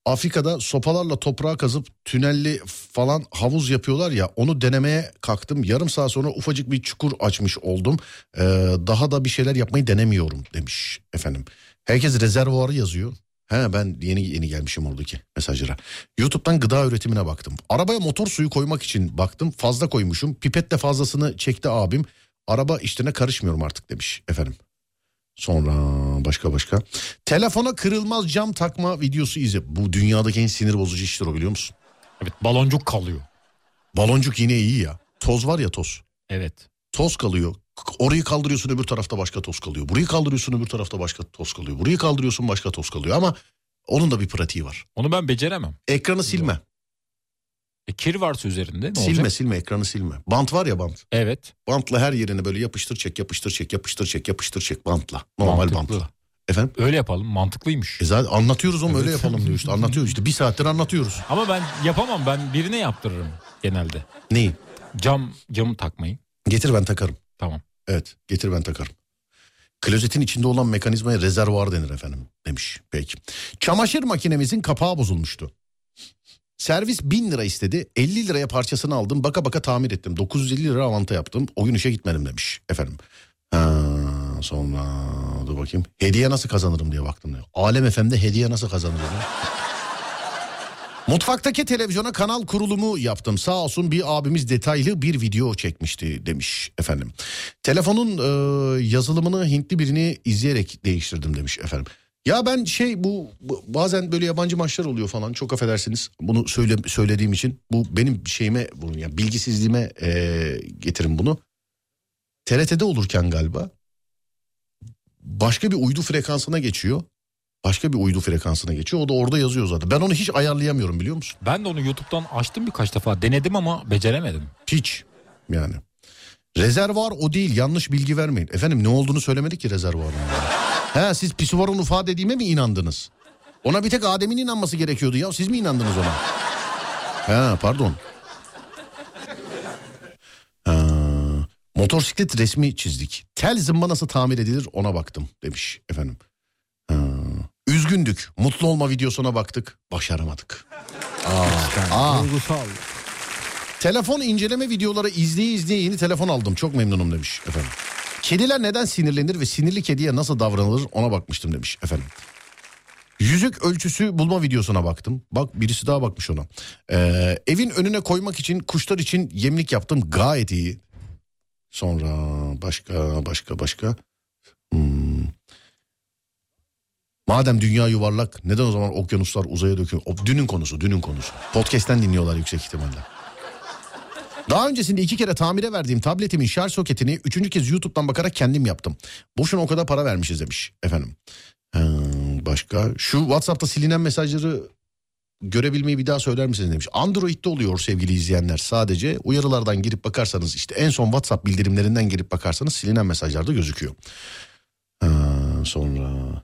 Afrika'da sopalarla toprağa kazıp tünelli falan havuz yapıyorlar ya onu denemeye kalktım. Yarım saat sonra ufacık bir çukur açmış oldum. Ee, daha da bir şeyler yapmayı denemiyorum demiş efendim. Herkes rezervuarı yazıyor. He ben yeni yeni gelmişim oradaki mesajlara. YouTube'dan gıda üretimine baktım. Arabaya motor suyu koymak için baktım. Fazla koymuşum. Pipetle fazlasını çekti abim. Araba işlerine karışmıyorum artık demiş efendim. Sonra başka başka. Telefona kırılmaz cam takma videosu izle. Bu dünyadaki en sinir bozucu iştir o biliyor musun? Evet baloncuk kalıyor. Baloncuk yine iyi ya. Toz var ya toz. Evet. Toz kalıyor. K- Orayı kaldırıyorsun öbür tarafta başka toz kalıyor. Burayı kaldırıyorsun öbür tarafta başka toz kalıyor. Burayı kaldırıyorsun başka toz kalıyor ama onun da bir pratiği var. Onu ben beceremem. Ekranı silme. E, kir varsa üzerinde ne Silme olacak? silme ekranı silme. Bant var ya bant. Evet. Bantla her yerine böyle yapıştır çek yapıştır çek yapıştır çek yapıştır çek bantla. Normal Mantıklı. bantla. Efendim? Öyle yapalım. Mantıklıymış. E zaten anlatıyoruz ama öyle Evet. yapalım diyor işte. Anlatıyoruz işte. Bir saattir anlatıyoruz. Ama ben yapamam. Ben birine yaptırırım genelde. Neyi? Cam camı takmayı. Getir ben takarım. Tamam. Evet getir ben takarım. Klozetin içinde olan mekanizmaya rezervuar denir efendim demiş. Peki. Çamaşır makinemizin kapağı bozulmuştu. Servis 1000 lira istedi. 50 liraya parçasını aldım. Baka baka tamir ettim. 950 lira avanta yaptım. O gün işe gitmedim demiş efendim. Ha, sonra dur bakayım. Hediye nasıl kazanırım diye baktım. Diyor. Alem FM'de hediye nasıl kazanırım? Mutfaktaki televizyona kanal kurulumu yaptım. Sağ olsun bir abimiz detaylı bir video çekmişti demiş efendim. Telefonun e, yazılımını Hintli birini izleyerek değiştirdim demiş efendim. Ya ben şey bu bu- bazen böyle yabancı maçlar oluyor falan çok affedersiniz bunu söyle, söylediğim için bu benim şeyime bunu yani bilgisizliğime e, getirin bunu. TRT'de olurken galiba başka bir uydu frekansına geçiyor. Başka bir uydu frekansına geçiyor. O da orada yazıyor zaten. Ben onu hiç ayarlayamıyorum biliyor musun? Ben de onu YouTube'dan açtım birkaç defa. Denedim ama beceremedim. Hiç yani. Rezervuar o değil yanlış bilgi vermeyin. Efendim ne olduğunu söylemedik ki rezervuarın. He siz pisuvarın ufa dediğime mi inandınız? Ona bir tek Adem'in inanması gerekiyordu ya siz mi inandınız ona? He pardon. Ha, motosiklet resmi çizdik. Tel zımbanası tamir edilir ona baktım demiş efendim. Ha, üzgündük. Mutlu olma videosuna baktık. Başaramadık. Aa. Duygusal. Telefon inceleme videoları izleye izleye yeni telefon aldım. Çok memnunum demiş efendim. Kediler neden sinirlenir ve sinirli kediye nasıl davranılır ona bakmıştım demiş efendim. Yüzük ölçüsü bulma videosuna baktım. Bak birisi daha bakmış ona. Ee, evin önüne koymak için kuşlar için yemlik yaptım. Gayet iyi. Sonra başka başka başka. Hmm. Madem dünya yuvarlak neden o zaman okyanuslar uzaya dökülüyor? O- Dünün konusu, dünün konusu. Podcast'ten dinliyorlar yüksek ihtimalle. Daha öncesinde iki kere tamire verdiğim tabletimin şarj soketini üçüncü kez YouTube'dan bakarak kendim yaptım. Boşuna o kadar para vermişiz demiş efendim. Ee, başka şu WhatsApp'ta silinen mesajları görebilmeyi bir daha söyler misiniz demiş. Android'de oluyor sevgili izleyenler sadece uyarılardan girip bakarsanız işte en son WhatsApp bildirimlerinden girip bakarsanız silinen mesajlarda gözüküyor. Ee, sonra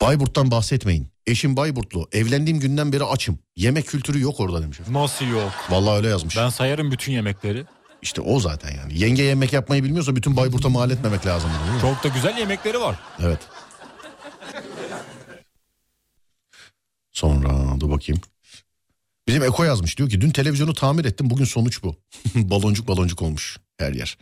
Bayburt'tan bahsetmeyin. Eşim Bayburtlu. Evlendiğim günden beri açım. Yemek kültürü yok orada demiş. Nasıl yok? Vallahi öyle yazmış. Ben sayarım bütün yemekleri. İşte o zaten yani. Yenge yemek yapmayı bilmiyorsa bütün Bayburt'a mal etmemek lazım. değil mi? Çok da güzel yemekleri var. Evet. Sonra dur bakayım. Bizim Eko yazmış diyor ki dün televizyonu tamir ettim bugün sonuç bu. baloncuk baloncuk olmuş her yer.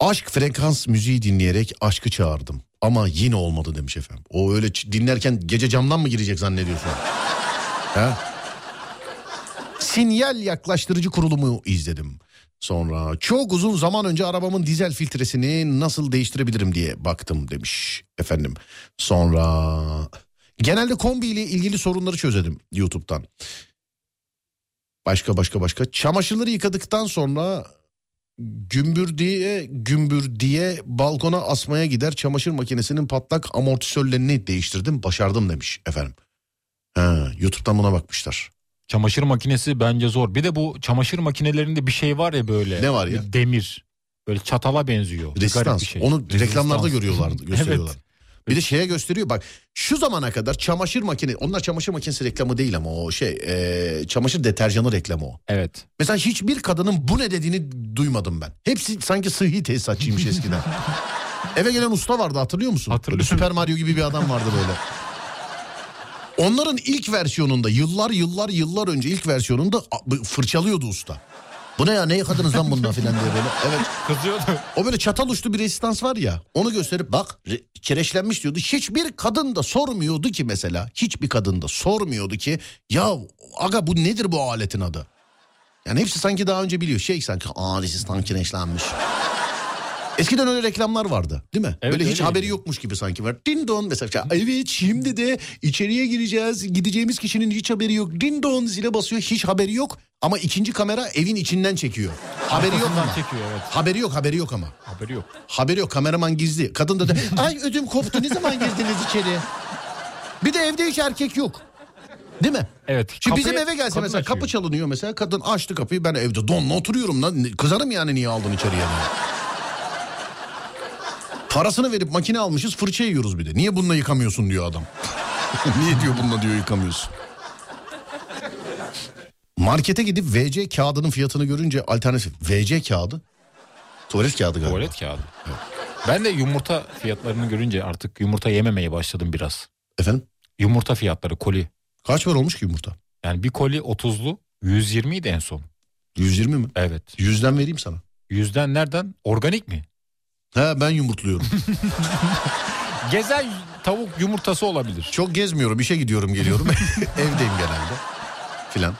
Aşk frekans müziği dinleyerek aşkı çağırdım. Ama yine olmadı demiş efendim. O öyle ç- dinlerken gece camdan mı girecek zannediyorsun? ha? Sinyal yaklaştırıcı kurulumu izledim. Sonra çok uzun zaman önce arabamın dizel filtresini nasıl değiştirebilirim diye baktım demiş efendim. Sonra genelde kombi ile ilgili sorunları çözedim YouTube'dan. Başka başka başka çamaşırları yıkadıktan sonra gümbür diye gümbür diye balkona asmaya gider çamaşır makinesinin patlak amortisörlerini değiştirdim başardım demiş efendim. Ha, YouTube'dan buna bakmışlar. Çamaşır makinesi bence zor. Bir de bu çamaşır makinelerinde bir şey var ya böyle. Ne var ya? Bir Demir. Böyle çatala benziyor. Garip Resistans. bir şey. Onu reklamlarda Resistans. görüyorlardı, gösteriyorlar. Evet. Bir de şeye gösteriyor bak şu zamana kadar çamaşır makine onlar çamaşır makinesi reklamı değil ama o şey e, çamaşır deterjanı reklamı o. Evet. Mesela hiçbir kadının bu ne dediğini duymadım ben. Hepsi sanki sıhhi tesisatçıymış eskiden. Eve gelen usta vardı hatırlıyor musun? Hatırlıyorum. Böyle Süper Mario gibi bir adam vardı böyle. Onların ilk versiyonunda yıllar yıllar yıllar önce ilk versiyonunda a- fırçalıyordu usta. Bu ne ya ne yıkadınız lan bundan filan diye böyle. Evet. Kızıyordu. O böyle çatal uçlu bir resistans var ya onu gösterip bak re- kireçlenmiş diyordu. Hiçbir kadın da sormuyordu ki mesela hiçbir kadın da sormuyordu ki ya aga bu nedir bu aletin adı? Yani hepsi sanki daha önce biliyor şey sanki aa resistan kireçlenmiş. Eskiden öyle reklamlar vardı değil mi? Evet, böyle hiç öyleydi. haberi yokmuş gibi sanki var. Din don mesela. şey, Evet şimdi de içeriye gireceğiz. Gideceğimiz kişinin hiç haberi yok. Din don zile basıyor hiç haberi yok. Ama ikinci kamera evin içinden çekiyor. Haberi yok Arkasından ama. çekiyor evet. Haberi yok haberi yok ama. Haberi yok. Haberi yok kameraman gizli. Kadın da de, ay ödüm koptu ne zaman girdiniz içeri? Bir de evde hiç erkek yok. Değil mi? Evet. Şimdi kapıyı bizim eve gelse kadın mesela açıyor. kapı çalınıyor mesela kadın açtı kapıyı ben evde donla oturuyorum lan Ne- kızarım yani niye aldın içeriye diye. Parasını verip makine almışız fırça yiyoruz bir de. Niye bununla yıkamıyorsun diyor adam. niye diyor bununla diyor yıkamıyorsun. Markete gidip VC kağıdının fiyatını görünce alternatif VC kağıdı tuvalet kağıdı galiba. Tuvalet kağıdı. Ben de yumurta fiyatlarını görünce artık yumurta yememeye başladım biraz. Efendim? Yumurta fiyatları koli. Kaç var olmuş ki yumurta? Yani bir koli 30'lu 120 idi en son. 120 mi? Evet. 100'den vereyim sana. Yüzden nereden? Organik mi? He ben yumurtluyorum. Gezen tavuk yumurtası olabilir. Çok gezmiyorum işe gidiyorum geliyorum. Evdeyim genelde. Filan.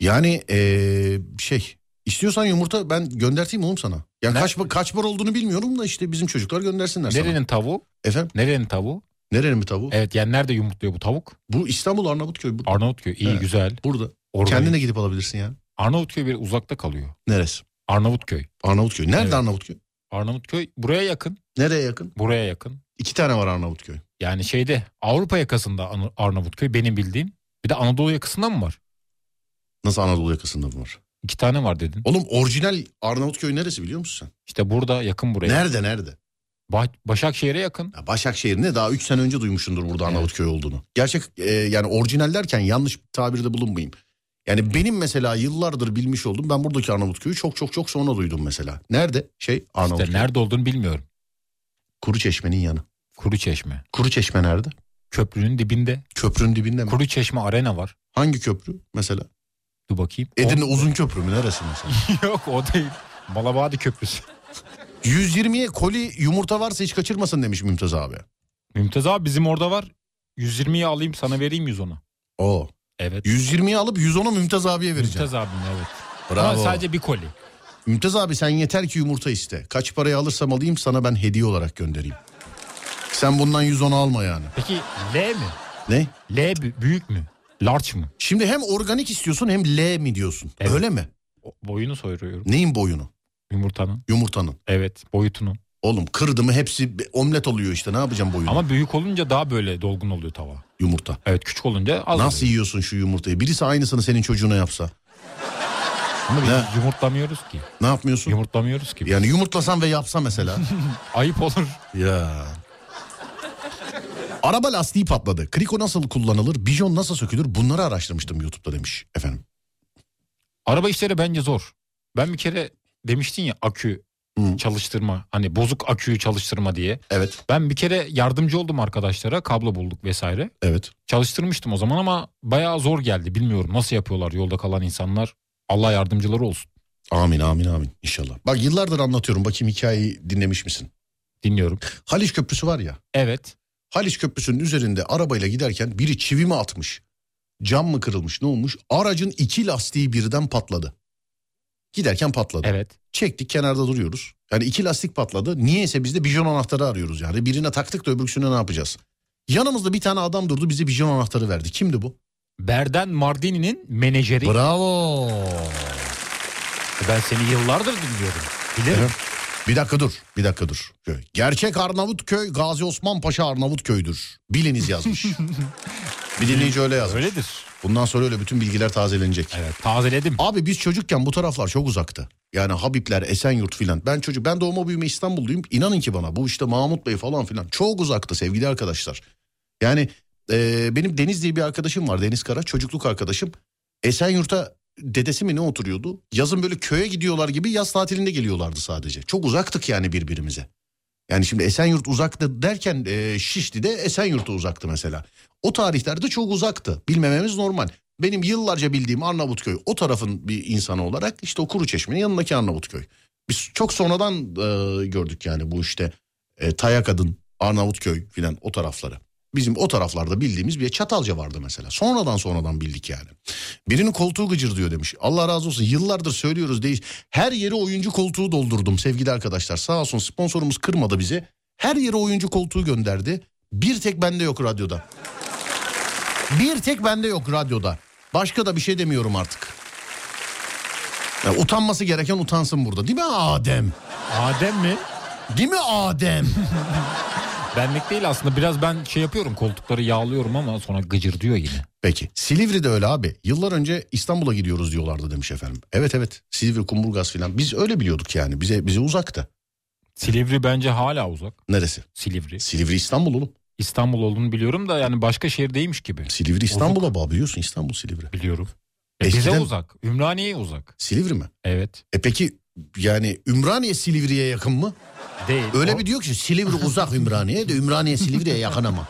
Yani eee, şey istiyorsan yumurta ben gönderteyim oğlum sana. Yani Ne? kaç, kaç bar olduğunu bilmiyorum da işte bizim çocuklar göndersinler sana. Nerenin tavuğu? Efendim Nerenin tavuğu? nerenin mi tavuğu? Evet yani nerede yumurtluyor bu tavuk? Bu İstanbul Arnavutköy bu, Arnavutköy. iyi Evet. güzel. burada. Organik. Kendine gidip alabilirsin yani. Arnavutköy bir uzakta kalıyor. Neresi? Arnavutköy. Arnavutköy. Nerede Evet. Arnavutköy? Arnavutköy buraya yakın. Nereye yakın? Buraya yakın. İki tane var Arnavutköy. Yani şeyde Avrupa yakasında An- Arnavutköy benim bildiğim. Bir de Anadolu yakasında mı var? Nasıl Anadolu yakasında bu var? İki tane var dedin. Oğlum orijinal Arnavutköy neresi biliyor musun sen? İşte burada yakın buraya. Nerede nerede? Bah- Başakşehir'e yakın. Ya Başakşehir ne daha 3 sene önce duymuşsundur burada Arnavutköy olduğunu. Gerçek e, yani orijinal derken yanlış bir tabirde bulunmayayım. Yani benim mesela yıllardır bilmiş oldum ben buradaki Arnavutköy'ü çok çok çok sonra duydum mesela. Nerede? Şey Arnavutköy. İşte nerede olduğunu bilmiyorum. Kuru Çeşme'nin yanı. Kuru Çeşme. Kuru Çeşme nerede? Köprünün dibinde. Köprünün dibinde mi? Kuru Çeşme Arena var. Hangi köprü mesela? Dur bakayım. Edirne Uzun Köprü mü neresi mesela? O- Yok o değil. Malabadi Köprüsü. 120'ye koli yumurta varsa hiç kaçırmasın demiş Mümtaz abi. Mümtaz abi bizim orada var. 120'yi alayım sana vereyim 110'u. Oo. Evet. 120'yi alıp 110'u Mümtaz abiye vereceğim. Mümtaz abim evet. Bravo. Ama sadece bir koli. Mümtaz abi sen yeter ki yumurta iste. Kaç paraya alırsam alayım sana ben hediye olarak göndereyim. Sen bundan 110 alma yani. Peki L mi? Ne? L bü- büyük mü? Large mı? Şimdi hem organik istiyorsun hem L mi diyorsun? Evet. Öyle mi? O- Boyunu soruyorum. Neyin boyunu? Yumurtanın. Yumurtanın. Evet boyutunu. Oğlum kırdı mı hepsi bir omlet oluyor işte. Ne yapacağım boyunu? Ama büyük olunca daha böyle dolgun oluyor tava. Yumurta. Evet küçük olunca az Nasıl oluyor. yiyorsun şu yumurtayı? Birisi aynısını senin çocuğuna yapsa. Ama biz Ne? yumurtlamıyoruz ki. Ne yapmıyorsun? Yumurtlamıyoruz ki. Yani yumurtlasan ve yapsa mesela. Ayıp olur. ya. Araba lastiği patladı. Kriko nasıl kullanılır? Bijon nasıl sökülür? Bunları araştırmıştım YouTube'da demiş efendim. Araba işleri bence zor. Ben bir kere demiştin ya akü Hı. çalıştırma. Hani bozuk aküyü çalıştırma diye. Evet. Ben bir kere yardımcı oldum arkadaşlara. Kablo bulduk vesaire. Evet. Çalıştırmıştım o zaman ama bayağı zor geldi. Bilmiyorum nasıl yapıyorlar yolda kalan insanlar. Allah yardımcıları olsun. Amin amin amin inşallah. Bak yıllardır anlatıyorum. Bakayım hikayeyi dinlemiş misin? Dinliyorum. Haliç Köprüsü var ya. Evet. Haliç Köprüsü'nün üzerinde arabayla giderken biri çivimi atmış. Cam mı kırılmış ne olmuş? Aracın iki lastiği birden patladı. Giderken patladı. Evet. Çektik kenarda duruyoruz. Yani iki lastik patladı. Niyeyse biz de bijon anahtarı arıyoruz yani. Birine taktık da öbürküsüne ne yapacağız? Yanımızda bir tane adam durdu bize bijon anahtarı verdi. Kimdi bu? Berden Mardini'nin menajeri. Bravo. ben seni yıllardır dinliyorum. Bilirim. Evet. Bir dakika dur. Bir dakika dur. Şöyle, Gerçek Arnavutköy Gazi Osman Paşa Arnavutköy'dür. Biliniz yazmış. bir dinleyici öyle yazmış. Öyledir. Bundan sonra öyle bütün bilgiler tazelenecek. Evet. Tazeledim. Abi biz çocukken bu taraflar çok uzaktı. Yani Habibler, Esenyurt filan. Ben çocuk ben doğma büyüme İstanbulluyum. İnanın ki bana bu işte Mahmut Bey falan filan çok uzaktı sevgili arkadaşlar. Yani e, benim Deniz diye bir arkadaşım var Deniz Kara çocukluk arkadaşım. Esenyurt'a dedesi mi ne oturuyordu? Yazın böyle köye gidiyorlar gibi yaz tatilinde geliyorlardı sadece. Çok uzaktık yani birbirimize. Yani şimdi Esenyurt uzaktı derken e, Şişli de Esenyurt'a uzaktı mesela. O tarihlerde çok uzaktı. Bilmememiz normal. Benim yıllarca bildiğim Arnavutköy o tarafın bir insanı olarak işte o kuru çeşmenin yanındaki Arnavutköy. Biz çok sonradan e, gördük yani bu işte e, Tayakadın, Arnavutköy filan o tarafları. Bizim o taraflarda bildiğimiz bir Çatalca vardı mesela. Sonradan sonradan bildik yani. Birinin koltuğu gıcır diyor demiş. Allah razı olsun yıllardır söylüyoruz değil. Her yere oyuncu koltuğu doldurdum sevgili arkadaşlar. Sağ olsun sponsorumuz kırmadı bizi. Her yere oyuncu koltuğu gönderdi. Bir tek bende yok radyoda. Bir tek bende yok radyoda. Başka da bir şey demiyorum artık. Ya utanması gereken utansın burada. Değil mi Adem? Adem mi? Değil mi Adem? Benlik değil aslında. Biraz ben şey yapıyorum koltukları yağlıyorum ama sonra gıcır diyor yine. Peki. Silivri de öyle abi. Yıllar önce İstanbul'a gidiyoruz diyorlardı demiş efendim. Evet evet. Silivri, Kumburgaz filan. Biz öyle biliyorduk yani. Bize bize uzaktı. Silivri bence hala uzak. Neresi? Silivri. Silivri İstanbul oğlum. İstanbul olduğunu biliyorum da yani başka şehirdeymiş gibi Silivri İstanbul'a bağlı biliyorsun İstanbul Silivri. biliyorum. E Eskiden- Bize uzak. Ümraniye'ye uzak. Silivri mi? Evet. E peki yani Ümraniye Silivri'ye yakın mı? Değil. Öyle O- bir diyor ki Silivri uzak Ümraniye de Ümraniye Silivri'ye yakın ama.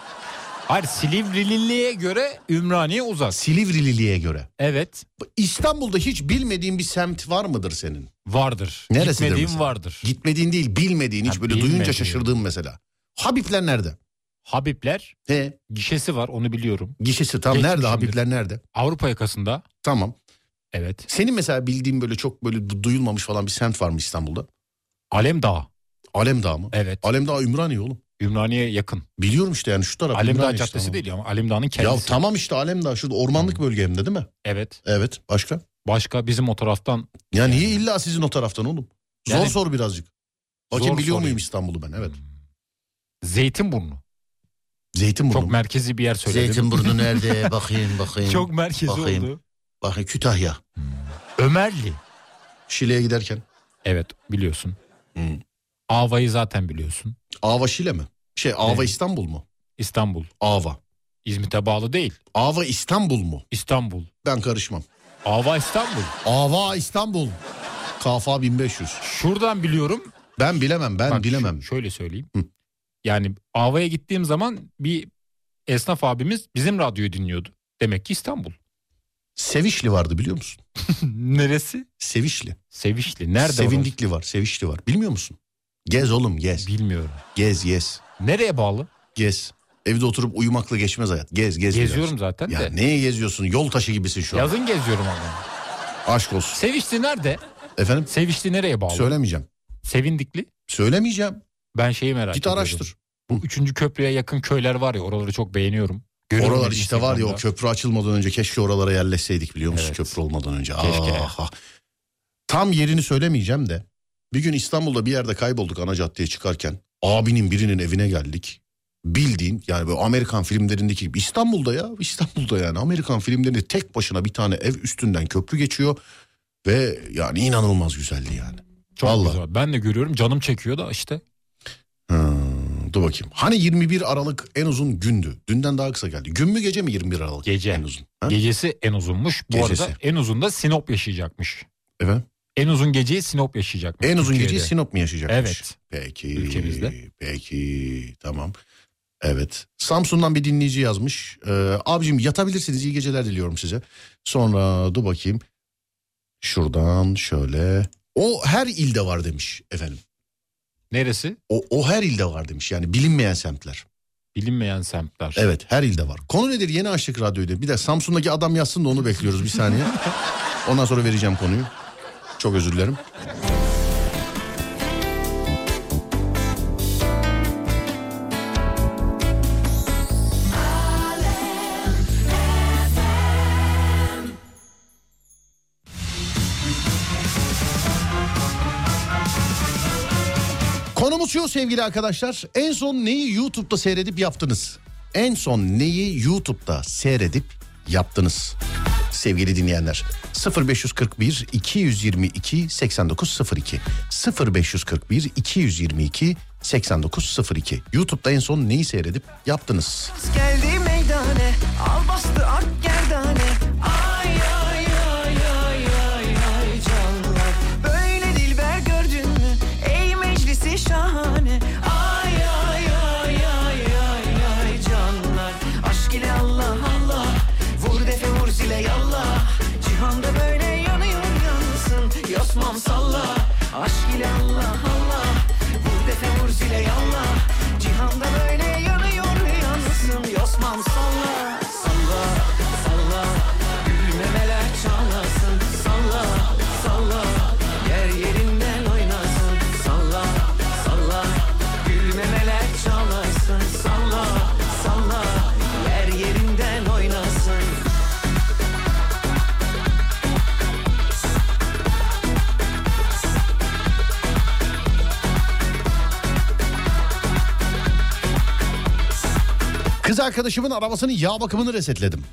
Hayır Silivrili'ye göre Ümraniye uzak. Silivrili'ye göre. Evet. İstanbul'da hiç bilmediğin bir semt var mıdır senin? Vardır. Neresidir Gitmediğim mesela? vardır. Gitmediğin değil bilmediğin hiç Ha, böyle duyunca bilmediğim. şaşırdığın mesela. Habibler nerede? Habibler He gişesi var onu biliyorum. gişesi tam Geçmişimdir. nerede Habibler nerede? Avrupa yakasında. Tamam. Evet. Senin mesela bildiğin böyle çok böyle du- duyulmamış falan bir semt var mı İstanbul'da? Alemdağ. Alemdağ mı? Evet. Alemdağ Ümraniye oğlum. Ümraniye'ye yakın. Biliyorum işte yani şu taraf. Alemdağ Ümraniye Caddesi İstanbul. değil ama Alemdağ'ın Ya kendisi. tamam işte Alemdağ şurada ormanlık bölge hem de değil mi? Evet. Evet başka. Başka bizim o taraftan Ya niye illa sizin o taraftan oğlum? Zor Yani- sor birazcık. Bakayım Zor biliyor sorayım. muyum İstanbul'u ben evet. Hmm. Zeytinburnu. Zeytinburnu. Çok mu? merkezi bir yer söyledim. Zeytinburnu nerede? bakayım bakayım. Çok merkezi Bakayım. oldu. Bakayım Kütahya. Ömerli. Şile'ye giderken. Evet biliyorsun. Hmm. Ava'yı zaten biliyorsun. Ava Şile mi? Şey Ava Evet. İstanbul mu? İstanbul. Ava. İzmit'e bağlı değil. Ava İstanbul mu? İstanbul. Ben karışmam. Ava İstanbul. Ava İstanbul. Kafa 1500. Şuradan biliyorum. Ben bilemem ben Bak, bilemem. ş- Şöyle söyleyeyim. Hı. Yani Ava'ya gittiğim zaman bir esnaf abimiz bizim radyoyu dinliyordu. Demek ki İstanbul. Sevişli vardı biliyor musun? Neresi? Sevişli. Sevişli. Nerede? Sevindikli var Sevişli var. Bilmiyor musun? Gez oğlum gez. orası? Bilmiyorum. Gez gez. Nereye bağlı? Gez. Evde oturup uyumakla geçmez hayat. Gez gez. Geziyorum zaten biraz. Ya de. neye geziyorsun? Yol taşı gibisin şu an. Yazın geziyorum ama. Aşk olsun. Sevişli nerede? Efendim? Sevişli nereye bağlı? Söylemeyeceğim. Sevindikli. Söylemeyeceğim. Ben şeyi merak Git ediyorum. araştır. Bu üçüncü köprüye yakın köyler var ya oraları çok beğeniyorum. Görüyorum Oralar hep işte var ya o Instagram'da. köprü açılmadan önce keşke oralara yerleşseydik biliyor musun Evet. köprü olmadan önce. Keşke. Ah, ah. Tam yerini söylemeyeceğim de bir gün İstanbul'da bir yerde kaybolduk ana caddeye çıkarken abinin birinin evine geldik. Bildiğin yani böyle Amerikan filmlerindeki gibi İstanbul'da ya İstanbul'da yani Amerikan filmlerinde tek başına bir tane ev üstünden köprü geçiyor ve yani inanılmaz güzeldi yani. Çok Vallahi. güzel. Ben de görüyorum canım çekiyor da işte. Hmm, dur bakayım. Hani 21 Aralık en uzun gündü. Dünden daha kısa geldi. Gün mü gece mi 21 Aralık? Gece. En uzun. Ha? Gecesi en uzunmuş. Bu Gecesi. arada en uzun da Sinop yaşayacakmış. Efendim? En uzun geceyi Sinop yaşayacakmış. En uzun Türkiye'de. geceyi Sinop mu yaşayacakmış? Evet. Peki. Ülkemizde. Peki tamam. Evet. Samsun'dan bir dinleyici yazmış. Ee, abicim yatabilirsiniz iyi geceler diliyorum size. Sonra dur bakayım. Şuradan şöyle. O her ilde var demiş efendim. Neresi? O, o her ilde var demiş yani bilinmeyen semtler. Bilinmeyen semtler. Evet her ilde var. Konu nedir yeni açlık radyoyla. Bir de Samsun'daki adam yazsın da onu bekliyoruz bir saniye. Ondan sonra vereceğim konuyu. Çok özür dilerim. Konumuz şu sevgili arkadaşlar. En son neyi YouTube'da seyredip yaptınız? En son neyi YouTube'da seyredip yaptınız? Sevgili dinleyenler 0541 222 8902 0541 222 8902 YouTube'da en son neyi seyredip yaptınız? Yaz geldi meydane Al bastı ak gerdane Ay ay ay ay ay ay canlar Böyle dilber gördün mü Ey meclisi şahane Ay ay ay ay ay ay canlar Aşk ile Allah Allah Vur defe vur zile yallah Cihanda böyle yanıyor yansın Yosmam salla Aşk ile Allah Allah Vur defe vur zile yallah Cihanda böyle yanıyor yansın Yosmam salla Salla salla Gülmemeler çalasın Salla salla Yer yerinden oynasın Salla salla Gülmemeler çalasın Salla salla Yer yerinden oynasın Kız arkadaşımın arabasının yağ bakımını resetledim.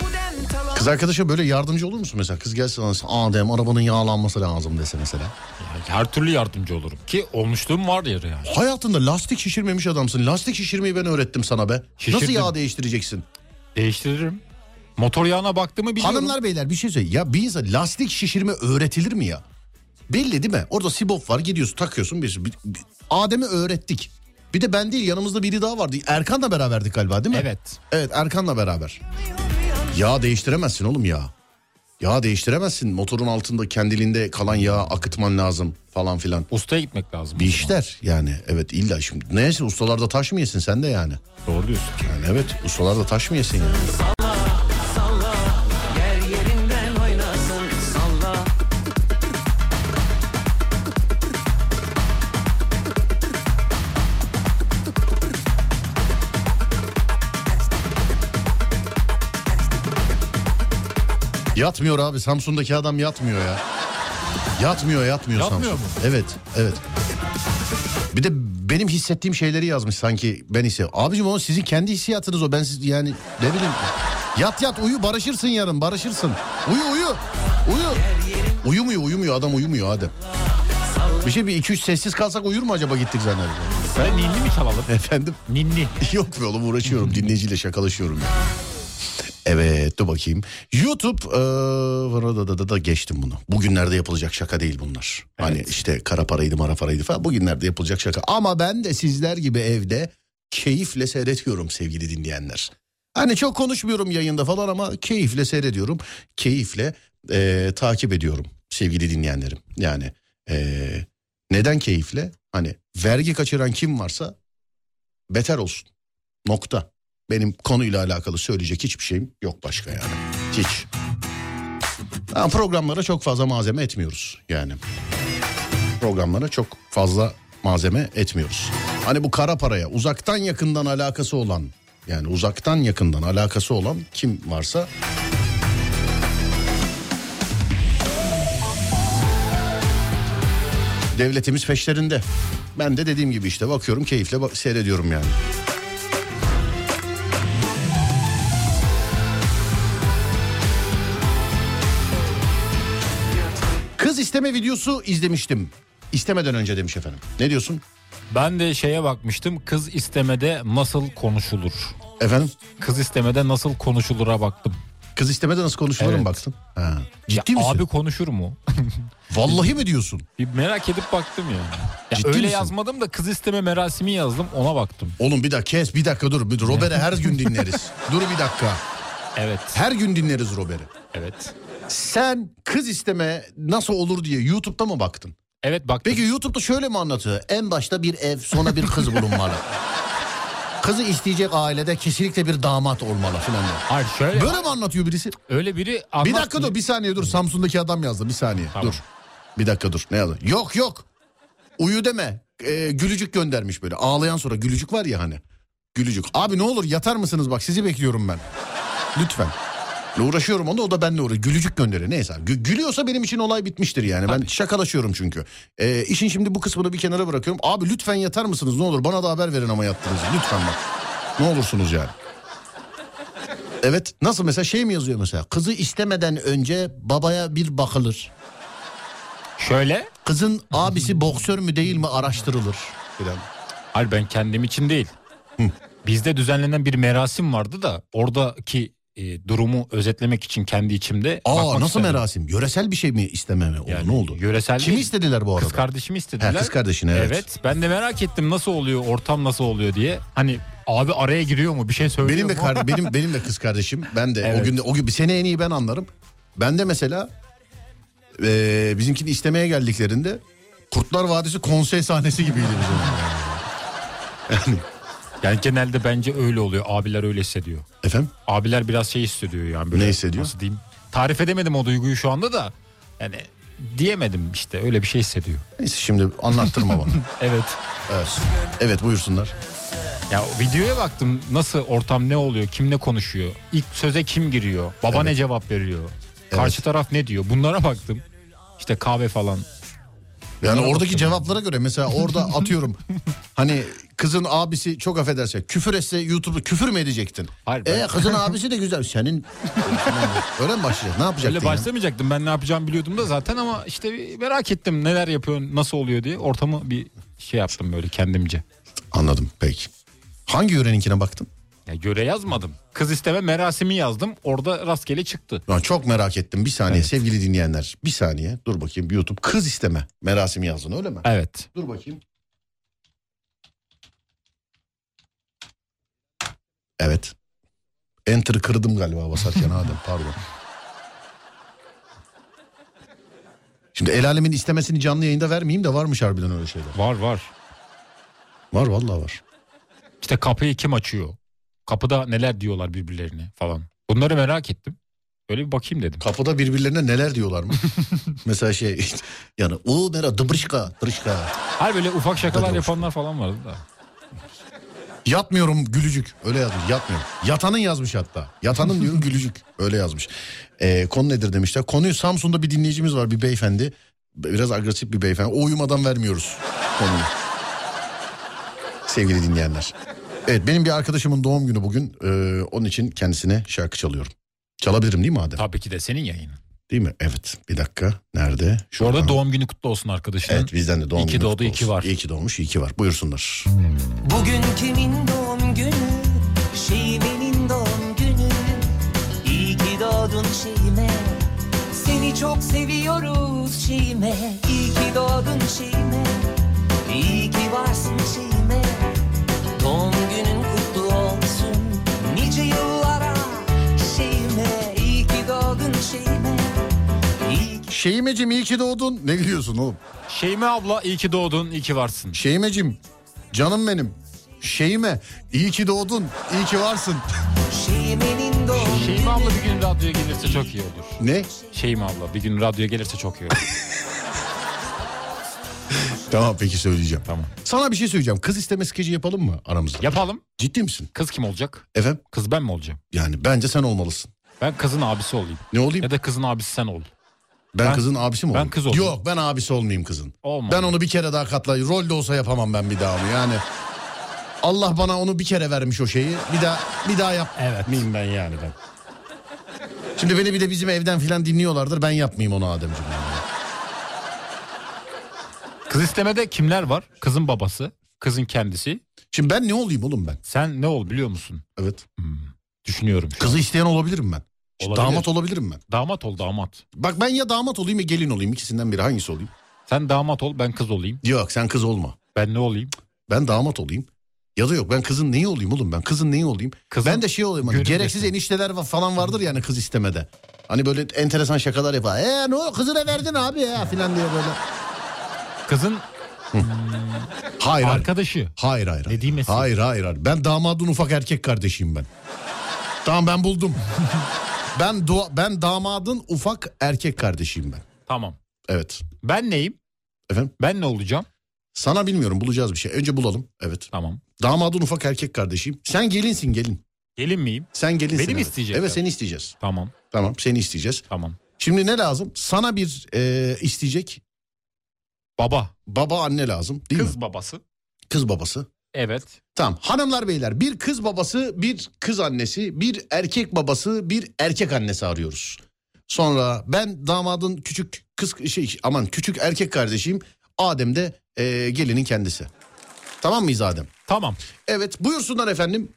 Bu dem talan Kız arkadaşa böyle yardımcı olur musun mesela? Kız gelse sana Adem arabanın yağlanması lazım dese mesela. Yani her türlü yardımcı olurum. Ki olmuşluğum var ya yani. Hayatında lastik şişirmemiş adamsın. Lastik şişirmeyi ben öğrettim sana be. Nasıl Şişirdim. yağ değiştireceksin? Değiştiririm. Motor yağına baktığımı biliyorum. Hanımlar beyler bir şey söyleyeyim. Ya bir insan lastik şişirme öğretilir mi ya? Belli değil mi? Orada sibop var gidiyorsun takıyorsun. Bir, bir- bir- Adem'e öğrettik. Bir de ben değil yanımızda biri daha vardı. Erkan'la beraberdik galiba değil mi? Evet. Evet Erkan'la beraber. Yağ değiştiremezsin oğlum ya. Yağ değiştiremezsin. Motorun altında kendiliğinde kalan yağı akıtman lazım falan filan. Ustaya gitmek lazım. Bir o zaman. işler yani evet illa şimdi. Neyse ustalarda taş mı yesin sen de yani. Doğru diyorsun. Yani evet ustalarda taş mı yesin yani. salla Yer yerinden oynasın Salla Yatmıyor abi Samsun'daki adam yatmıyor ya. Yatmıyor yatmıyor Yatmıyor Samsun. mu? Evet evet. Bir de benim hissettiğim şeyleri yazmış sanki ben ise. Abicim o sizin kendi hissiyatınız o ben siz yani ne bileyim. Yat yat uyu barışırsın yarın barışırsın. Uyu uyu uyu. Uyumuyor uyumuyor adam uyumuyor Adem. Bir şey bir iki üç sessiz kalsak uyur mu acaba gittik zannediyorum. Ben ninni mi çalalım? Efendim? Ninni. Yok be oğlum uğraşıyorum dinleyiciyle şakalaşıyorum ya. Evet dur bakayım. YouTube eee, da, da, da, da geçtim bunu. Bugünlerde yapılacak şaka değil bunlar. Hani işte kara paraydı mara paraydı falan bugünlerde yapılacak şaka. Ama ben de sizler gibi evde keyifle seyrediyorum sevgili dinleyenler. Hani çok konuşmuyorum yayında falan ama keyifle seyrediyorum. Keyifle eee, takip ediyorum sevgili dinleyenlerim. Yani eee, neden keyifle? Hani vergi kaçıran kim varsa beter olsun. Nokta. Benim konuyla alakalı söyleyecek hiçbir şeyim yok başka yani. Hiç. Ha, programlara çok fazla malzeme etmiyoruz yani. Programlara çok fazla malzeme etmiyoruz. Hani bu kara paraya uzaktan yakından alakası olan yani uzaktan yakından alakası olan kim varsa devletimiz peşlerinde. Ben de dediğim gibi işte bakıyorum keyifle bak- seyrediyorum yani. Kız isteme videosu izlemiştim. İstemeden önce demiş efendim. Ne diyorsun? Ben de şeye bakmıştım. Kız istemede nasıl konuşulur? Efendim? Kız istemede nasıl konuşulura baktım. Kız istemede nasıl konuşulur Evet. mu baktın? Ha. Ya Ciddi misin? abi konuşur mu? Vallahi mi diyorsun? Bir merak edip baktım ya. ya Ciddi öyle misin? yazmadım da kız isteme merasimi yazdım ona baktım. Oğlum bir dakika kes bir dakika dur. Bir- Robert'i her gün dinleriz. dur bir dakika. Evet. Her gün dinleriz Robert'i. Evet. Sen kız isteme nasıl olur diye YouTube'da mı baktın? Evet baktım. Peki YouTube'da şöyle mi anlatıyor? En başta bir ev sonra bir kız bulunmalı. Kızı isteyecek ailede kesinlikle bir damat olmalı filan. diyor. Hayır şöyle Böyle mi anlatıyor birisi? öyle biri Bir anlat- dakika dur bir saniye dur. Samsun'daki adam yazdı bir saniye Tamam. dur. Bir dakika dur ne yazdı? Yok yok uyu deme Ee, gülücük göndermiş böyle ağlayan sonra gülücük var ya hani. Gülücük abi ne olur yatar mısınız bak sizi bekliyorum ben. Lütfen. Ne uğraşıyorum onda o da benle uğraşıyor. Gülücük gönderiyor neyse. Gü- gülüyorsa benim için olay bitmiştir yani. Ben şakalaşıyorum çünkü. Ee, işin şimdi bu kısmını bir kenara bırakıyorum. Abi lütfen yatar mısınız ne olur bana da haber verin ama yattığınızı lütfen bak. Ne olursunuz yani. Evet nasıl mesela şey mi yazıyor mesela kızı istemeden önce babaya bir bakılır. Şöyle. Kızın abisi boksör mü değil mi araştırılır. Filan. Hayır ben kendim için değil. Bizde düzenlenen bir merasim vardı da oradaki e, durumu özetlemek için kendi içimde. Aa bakmak nasıl istedim. merasim? Yöresel bir şey mi istememe oldu? Yani ne oldu? Yöresel Kimi değil. istediler bu arada? Kız kardeşimi istediler. He, kız kardeşini, evet. Ben de merak ettim nasıl oluyor ortam nasıl oluyor diye. Hani abi araya giriyor mu bir şey söylüyor benim de mu? kar- benim benim de kız kardeşim. Ben de o Evet. gün de- o gün bir sene en iyi ben anlarım. Ben de mesela eee bizimkini istemeye geldiklerinde Kurtlar Vadisi konsey sahnesi gibiydi bizim. Yani genelde bence öyle oluyor. Abiler öyle hissediyor. Efendim? Abiler biraz şey hissediyor yani. Böyle, Ne hissediyor? Nasıl diyeyim? Tarif edemedim o duyguyu şu anda da. Yani diyemedim işte öyle bir şey hissediyor. Neyse şimdi anlattırma bana. Evet. Evet. Evet buyursunlar. Ya o videoya baktım nasıl ortam ne oluyor kimle konuşuyor ilk söze kim giriyor baba ne cevap veriyor karşı taraf ne diyor bunlara baktım işte kahve falan Yani Bunlara oradaki baktım. cevaplara göre mesela orada atıyorum hani kızın abisi çok affederse küfür etse YouTube'da küfür mü edecektin? Hayır, ben- E kızın abisi de güzel. Senin öyle mi başlayacak? Ne yapacaksın? öyle başlamayacaktım ben ne yapacağımı biliyordum da zaten ama işte bir merak ettim neler yapıyor nasıl oluyor diye ortamı bir şey yaptım böyle kendimce. Anladım peki. Hangi yöreninkine baktın? Ya göre yazmadım kız isteme merasimi yazdım orada rastgele çıktı. Ben çok merak ettim. Bir saniye sevgili dinleyenler. Bir saniye. Dur bakayım YouTube kız isteme merasimi yazdın öyle mi? Evet Dur bakayım. Evet. Enter'ı kırdım galiba basarken Adem pardon. Şimdi el alemin istemesini canlı yayında vermeyeyim de varmış harbiden öyle şeyler. var var Var vallahi var. işte kapıyı kim açıyor kapıda neler diyorlar birbirlerine falan bunları merak ettim öyle bir bakayım dedim. Kapıda birbirlerine neler diyorlar mı? Mesela şey işte, yani o mera dıbrışka dıbrışka. Hayır böyle ufak şakalar Hadi yapanlar falan vardı da. Yatmıyorum gülücük. Öyle yazmış. Yatmıyorum. Yatanın yazmış hatta. Yatanın diyor gülücük. Öyle yazmış. Ee, konu nedir demişler. Konuyu Samsun'da bir dinleyicimiz var bir beyefendi. Biraz agresif bir beyefendi. O uyumadan vermiyoruz konuyu. Sevgili dinleyenler. Evet benim bir arkadaşımın doğum günü bugün. Ee, onun için kendisine şarkı çalıyorum. Çalabilirim değil mi Adem? Tabii ki de senin yayının. Değil mi? Evet. Bir dakika. Nerede? Bu arada Şuradan. doğum günü kutlu olsun arkadaşın. Evet bizden de doğum İyi ki günü doğdu, kutlu iyi ki olsun. var. İyi ki doğmuş, iyi ki var. Buyursunlar. Bugün kimin doğum günü? Şeybe'nin doğum günü. İyi ki doğdun Şeyime. Seni çok seviyoruz Şeyime. İyi ki doğdun Şeyime. İyi ki varsın Şeyime. Doğum günün kutlu olsun. Nice yıllara Şeyime. İyi ki doğdun Şeyime. İyi ki... Şeyimeciğim iyi ki doğdun. Ne gülüyorsun oğlum? Şeyme abla iyi ki doğdun, iyi ki varsın. Şeymecim canım benim. Şeyime iyi ki doğdun, iyi ki varsın. Şeyime'nin doğum Şeyme abla bir gün radyoya gelirse çok iyi olur. ne? Şeyme abla bir gün radyoya gelirse çok iyi olur. Tamam peki söyleyeceğim. Tamam. Sana bir şey söyleyeceğim. Kız isteme skeci yapalım mı aramızda? Yapalım. Ciddi misin? Kız kim olacak? Efendim? Kız ben mi olacağım? Yani bence sen olmalısın. Ben kızın abisi olayım. Ne olayım? Ya da kızın abisi sen ol. Ben, ben- kızın abisi mi ben olayım? kız olayım. Yok ben abisi olmayayım kızın. Olmaz. Ben onu bir kere daha katla. Rol de olsa yapamam ben bir daha onu yani. Allah bana onu bir kere vermiş o şeyi. Bir daha bir daha yap. Evet. Miyim ben yani ben. Şimdi beni bir de bizim evden filan dinliyorlardır. Ben yapmayayım onu Ademciğim. Kız istemede kimler var? Kızın babası, kızın kendisi. Şimdi ben ne olayım oğlum ben? Sen ne ol biliyor musun? Evet. Düşünüyorum. şu an. Kızı isteyen olabilirim ben. İşte Olabilir. Damat olabilirim ben. Damat ol damat. Bak ben ya damat olayım ya gelin olayım. İkisinden biri hangisi olayım? Sen damat ol ben kız olayım. Yok sen kız olma. Ben ne olayım? Ben damat olayım. Ya da yok ben kızın neyi olayım oğlum ben? Kızın neyi olayım? Kızın ben de şey olayım hani gönül gereksiz resmi. enişteler va- falan vardır yani kız istemede. Hani böyle enteresan şakalar yapar. Eee ne o kızına verdin abi ya filan diye böyle. Kızın Hayır hayır. arkadaşı. Hayır hayır. hayır. Dediğim esin. hayır hayır hayır. Ben damadın ufak erkek kardeşiyim ben. tamam ben buldum. ben dua- ben damadın ufak erkek kardeşiyim ben. Tamam. Evet. Ben neyim? Efendim? Ben ne olacağım? Sana bilmiyorum bulacağız bir şey. Önce bulalım. Evet. Tamam. Damadın ufak erkek kardeşiyim. Sen gelinsin gelin. Gelin miyim? Sen gelinsin. Beni mi evet. isteyecekler? Evet seni isteyeceğiz. Tamam. Tamam seni isteyeceğiz. Tamam. Şimdi ne lazım? Sana bir e, isteyecek Baba. baba anne lazım değil kız mi? babası. Kız babası. Evet. Tamam hanımlar beyler bir kız babası bir kız annesi bir erkek babası bir erkek annesi arıyoruz. Sonra ben damadın küçük kız şey aman küçük erkek kardeşiyim Adem de e, gelinin kendisi. Tamam mıyız Adem? Tamam. Evet buyursunlar efendim.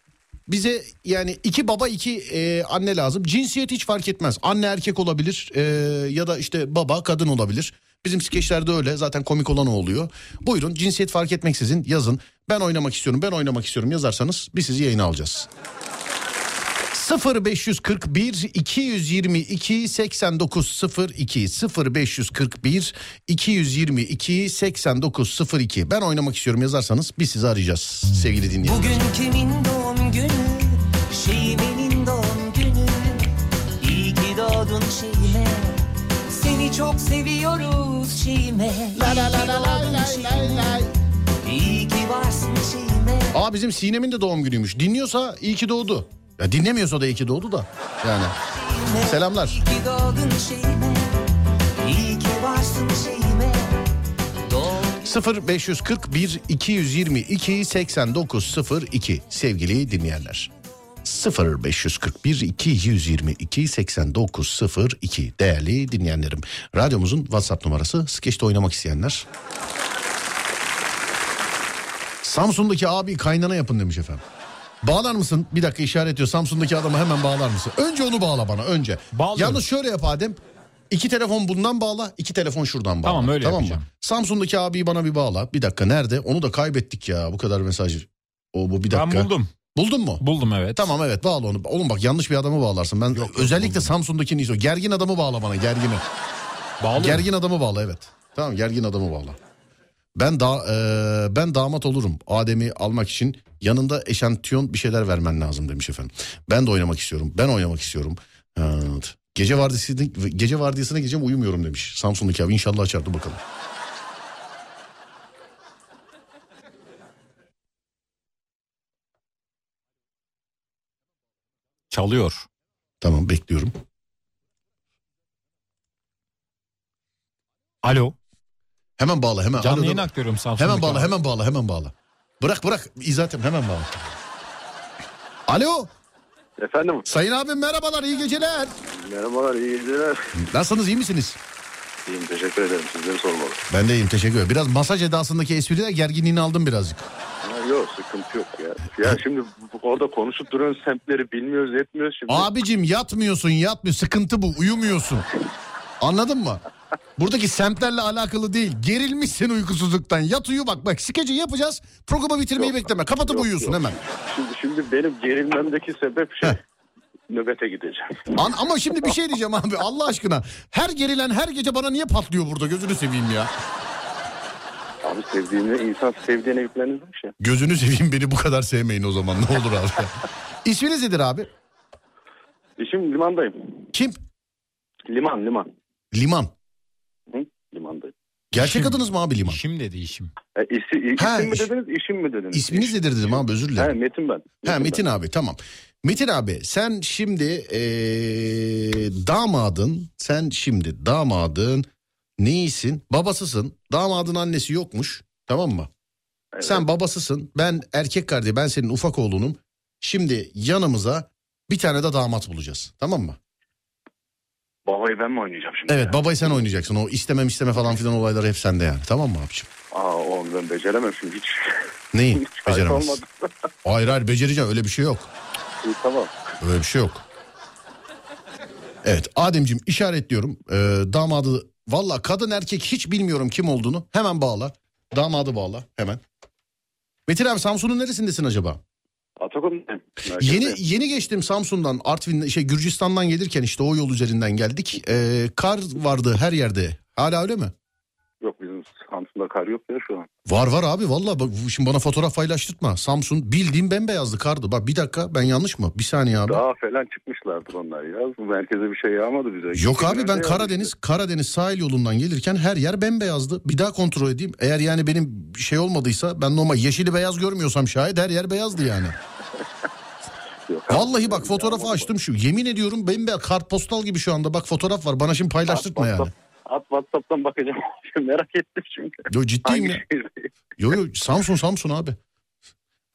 Bize yani iki baba iki e, anne lazım. Cinsiyet hiç fark etmez. Anne erkek olabilir e, ya da işte baba kadın olabilir. Bizim skeçlerde öyle zaten komik olan o oluyor. Buyurun cinsiyet fark etmeksizin yazın. Ben oynamak istiyorum ben oynamak istiyorum yazarsanız biz sizi yayına alacağız. 0541 222 8902 0541 222 8902 Ben oynamak istiyorum yazarsanız biz sizi arayacağız sevgili dinleyiciler. Bugün kimin doğum günü? Şeyimin doğum günü. İyi ki doğdun şeyime. Seni çok seviyoruz şeyime. La la la la İyi ki varsın şeyime. Aa bizim Sinem'in de doğum günüymüş. Dinliyorsa iyi ki doğdu. Ya dinlemiyorsa da iyi ki doğdu da. Yani şeyime. Selamlar. İyi ki doğdun şeyime. İyi ki varsın şeyime. Doğum 0541 222 8902 sevgili dinleyenler. 0541 222 8902 değerli dinleyenlerim. Radyomuzun WhatsApp numarası skeçte oynamak isteyenler. Samsun'daki abi kaynana yapın demiş efendim. Bağlar mısın? Bir dakika işaret diyor. Samsun'daki adamı hemen bağlar mısın? Önce onu bağla bana önce. Bağlıyorum. Yalnız şöyle yap Adem. İki telefon bundan bağla, iki telefon şuradan bağla. Tamam, öyle mı? yapacağım. Samsun'daki abiyi bana bir bağla. Bir dakika nerede? Onu da kaybettik ya bu kadar mesajı. O bu bir dakika. Ben buldum. Buldun mu? Buldum evet. Tamam evet bağla onu. Oğlum bak yanlış bir adamı bağlarsın. Ben özellikle Samsun'dakini istiyorum. Gergin adamı bağla bana gergini. Bağlı. Gergin adamı bağla evet. Tamam gergin adamı bağla. Ben da e, ben damat olurum. Adem'i almak için yanında eşantiyon bir şeyler vermen lazım demiş efendim. Ben de oynamak istiyorum. Ben oynamak istiyorum. Evet. Gece vardiyasına gece vardiyasına gece uyumuyorum demiş. Samsun'daki abi inşallah açar dur bakalım. Çalıyor. Tamam bekliyorum. Alo. Hemen bağla hemen. Canlı Alo, yayın dur. aktarıyorum Samsun'daki. Hemen bağla abi. hemen bağla hemen bağla. Bırak bırak İzatem hemen bağla. Alo Efendim sayın abim merhabalar iyi geceler. merhabalar iyi geceler. Nasılsınız iyi misiniz? İyiyim teşekkür ederim sizleri sormalı. Ben de iyiyim teşekkür ederim. Biraz masaj edasındaki espriler gerginliğini aldım birazcık. Ha, yok sıkıntı yok ya. Ya şimdi bu- orada konuşup duruyoruz semtleri bilmiyoruz etmiyoruz şimdi. Abicim yatmıyorsun yatmıyor sıkıntı bu uyumuyorsun. Anladın mı? Buradaki semtlerle alakalı değil. Gerilmişsin uykusuzluktan. Yat uyu bak bak skeci yapacağız. Programı bitirmeyi Yok. bekleme. Kapatıp Yok, uyuyorsun yok. hemen. Şimdi, şimdi benim gerilmemdeki sebep şey Heh. nöbete gideceğim. An- ama şimdi bir şey diyeceğim abi Allah aşkına. Her gerilen her gece bana niye patlıyor burada gözünü seveyim ya. Abi sevdiğine insan sevdiğine yüklenir bir şey. Gözünü seveyim beni bu kadar sevmeyin o zaman ne olur abi. İsminiz nedir abi? İşim limandayım. Kim? Liman liman. Liman. Hı? Limandayım. Gerçek adınız mı abi Liman? İşim dedi işim. E, isi- i- Ha, isim mi iş- dediniz, işim mi dediniz? İsminiz nedir dedim abi özür Ha, dilerim. Metin ben. Ha ben. Metin abi tamam. Metin abi sen şimdi ee, damadın sen şimdi damadın neyisin babasısın damadın annesi yokmuş tamam mı? Evet. Sen babasısın ben erkek kardeşi ben senin ufak oğlunum. Şimdi yanımıza bir tane de damat bulacağız tamam mı? Babayı ben mi oynayacağım şimdi? Evet babayı sen oynayacaksın o istemem isteme falan filan olayları hep sende yani tamam mı abiciğim? Aa oğlum ben beceremem şimdi hiç. Neyi? hiç kayıt Beceremez. olmadı. Hayır hayır becereceğim öyle bir şey yok. İyi, tamam. Öyle bir şey yok. Evet Ademciğim işaretliyorum. Ee, damadı valla kadın erkek hiç bilmiyorum kim olduğunu. Hemen bağla. Damadı bağla hemen. Metin abi Samsun'un neresindesin acaba? Atakum Yeni yeni geçtim Samsun'dan Artvin şey Gürcistan'dan gelirken işte o yol üzerinden geldik. Ee, kar vardı her yerde. Hala öyle mi? Yok bizim Samsun'da kar yok ya şu an. Var var abi valla bak şimdi bana fotoğraf paylaştırtma. Samsun bildiğim bembeyazdı kardı. Bak bir dakika ben yanlış mı? Bir saniye abi. Daha falan çıkmışlardır onlar ya. Bu merkeze bir şey yağmadı bize. Yok abi Nerede ben yağdı Karadeniz işte? Karadeniz sahil yolundan gelirken her yer bembeyazdı. Bir daha kontrol edeyim. Eğer yani benim bir şey olmadıysa ben normal yeşili beyaz görmüyorsam şayet her yer beyazdı yani. Yok abi, Vallahi bak yağmadı. fotoğrafı açtım şu. Yemin ediyorum bembeyaz kartpostal gibi şu anda. Bak fotoğraf var. Bana şimdi paylaştırtma yani. WhatsApp- At WhatsApp'tan bakacağım. Merak ettim çünkü. Yo ciddiyim Hangi şey? ya. şehir? Yo yo Samsun Samsun abi.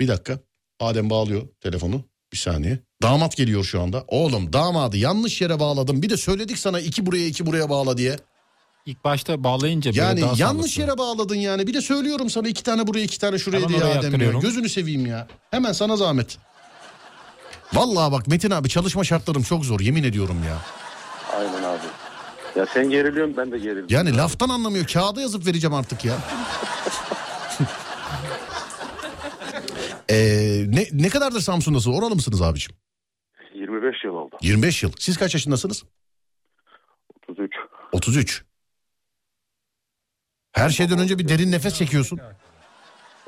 Bir dakika. Adem bağlıyor telefonu. Bir saniye. Damat geliyor şu anda. Oğlum damadı yanlış yere bağladım. Bir de söyledik sana iki buraya iki buraya bağla diye. İlk başta bağlayınca böyle Yani daha yanlış sağlıklı. yere bağladın yani. Bir de söylüyorum sana iki tane buraya iki tane şuraya Hemen diye oraya Adem ya. aktarıyorum. Gözünü seveyim ya. Hemen sana zahmet. Vallahi bak Metin abi çalışma şartlarım çok zor yemin ediyorum ya. Aynen abi. Ya sen geriliyorsun ben de gerildim. Yani laftan anlamıyor. Kağıda yazıp vereceğim artık ya. Ee, ne, ne kadardır Samsun'dasınız? Oralı mısınız abicim? 25 yıl oldu. 25 yıl. Siz kaç yaşındasınız? 33. 33. Her şeyden önce bir derin nefes çekiyorsun.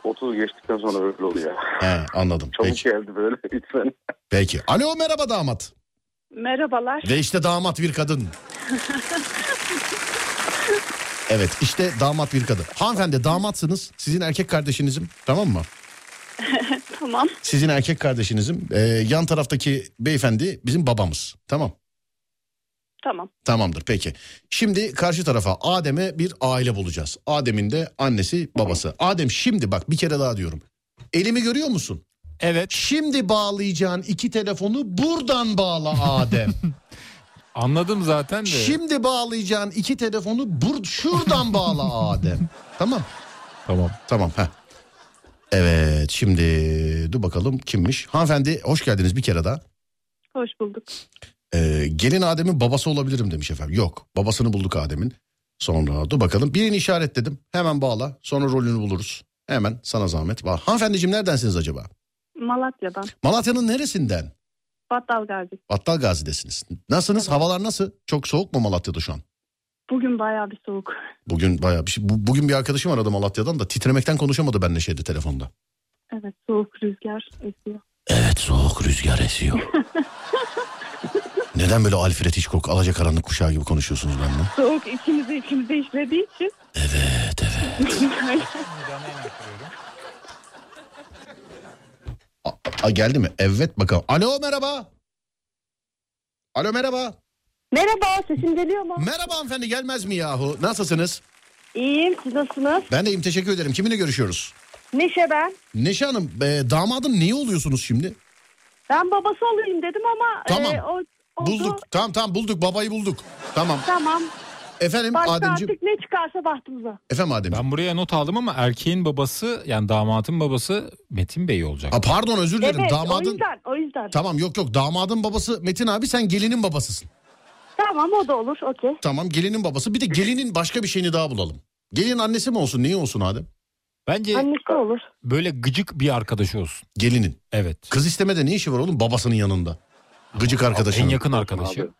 30 geçtikten sonra böyle oluyor. He, anladım. Çabuk Peki. geldi böyle lütfen. Peki. Alo merhaba damat. Merhabalar. Ve işte damat bir kadın. evet işte damat bir kadın. Hanımefendi damatsınız. Sizin erkek kardeşinizim tamam mı? Tamam. Sizin erkek kardeşinizim. Ee, yan taraftaki beyefendi bizim babamız. Tamam. Tamam. Tamamdır peki. Şimdi karşı tarafa Adem'e bir aile bulacağız. Adem'in de annesi babası. Adem şimdi bak bir kere daha diyorum. Elimi görüyor musun? Evet Şimdi bağlayacağın iki telefonu buradan bağla Adem. anladım zaten de. Şimdi bağlayacağın iki telefonu bur şuradan bağla Adem. tamam. Tamam. Tamam. Heh. Evet şimdi dur bakalım kimmiş? Hanımefendi hoş geldiniz bir kere daha. Hoş bulduk. Ee, gelin Adem'in babası olabilirim demiş efendim. Yok babasını bulduk Adem'in. Sonra dur bakalım birini işaretledim. Hemen bağla sonra rolünü buluruz. Hemen sana zahmet. Bağ. Hanımefendiciğim neredensiniz acaba? Malatya'dan. Malatya'nın neresinden? Battal Gazi. Battal Gazi'desiniz. Nasılsınız? Havalar nasıl? Çok soğuk mu Malatya'da şu an? Bugün bayağı bir soğuk. Bugün bayağı bir şey. bu- bugün bir arkadaşım aradı Malatya'dan da titremekten konuşamadı benimle şeyde telefonda. Evet soğuk rüzgar esiyor. Evet soğuk rüzgar esiyor. Neden böyle Alfred Hitchcock alacakaranlık kuşağı gibi konuşuyorsunuz benimle? Soğuk içimize içimize işlediği için. Evet evet. A, geldi mi? Evet bakalım. Alo merhaba. Alo merhaba. Merhaba sesim geliyor mu? Merhaba hanımefendi gelmez mi yahu? Nasılsınız? İyiyim siz nasılsınız? Ben deyim teşekkür ederim. Kiminle görüşüyoruz? Neşe ben. Neşe Hanım e, damadın neyi oluyorsunuz şimdi? Ben babası olayım dedim ama Tamam. e, o, oldu. Bulduk. Tamam tamam bulduk babayı bulduk. Tamam. Tamam. Efendim Başka Ademciğim. artık ne çıkarsa bahtımıza. Efendim Ademciğim. Ben buraya not aldım ama erkeğin babası yani damatın babası Metin Bey olacak. Ha, pardon özür dilerim. Evet damadın o yüzden o yüzden. Tamam yok yok damadın babası Metin abi sen gelinin babasısın. Tamam o da olur okey. Tamam gelinin babası bir de gelinin başka bir şeyini daha bulalım. Gelin annesi mi olsun neyi olsun Adem? Bence Annesi olur. böyle gıcık bir arkadaşı olsun. Gelinin. Evet. Kız istemede ne işi var oğlum babasının yanında? Gıcık En arkadaşının. yakın arkadaşı. Abi.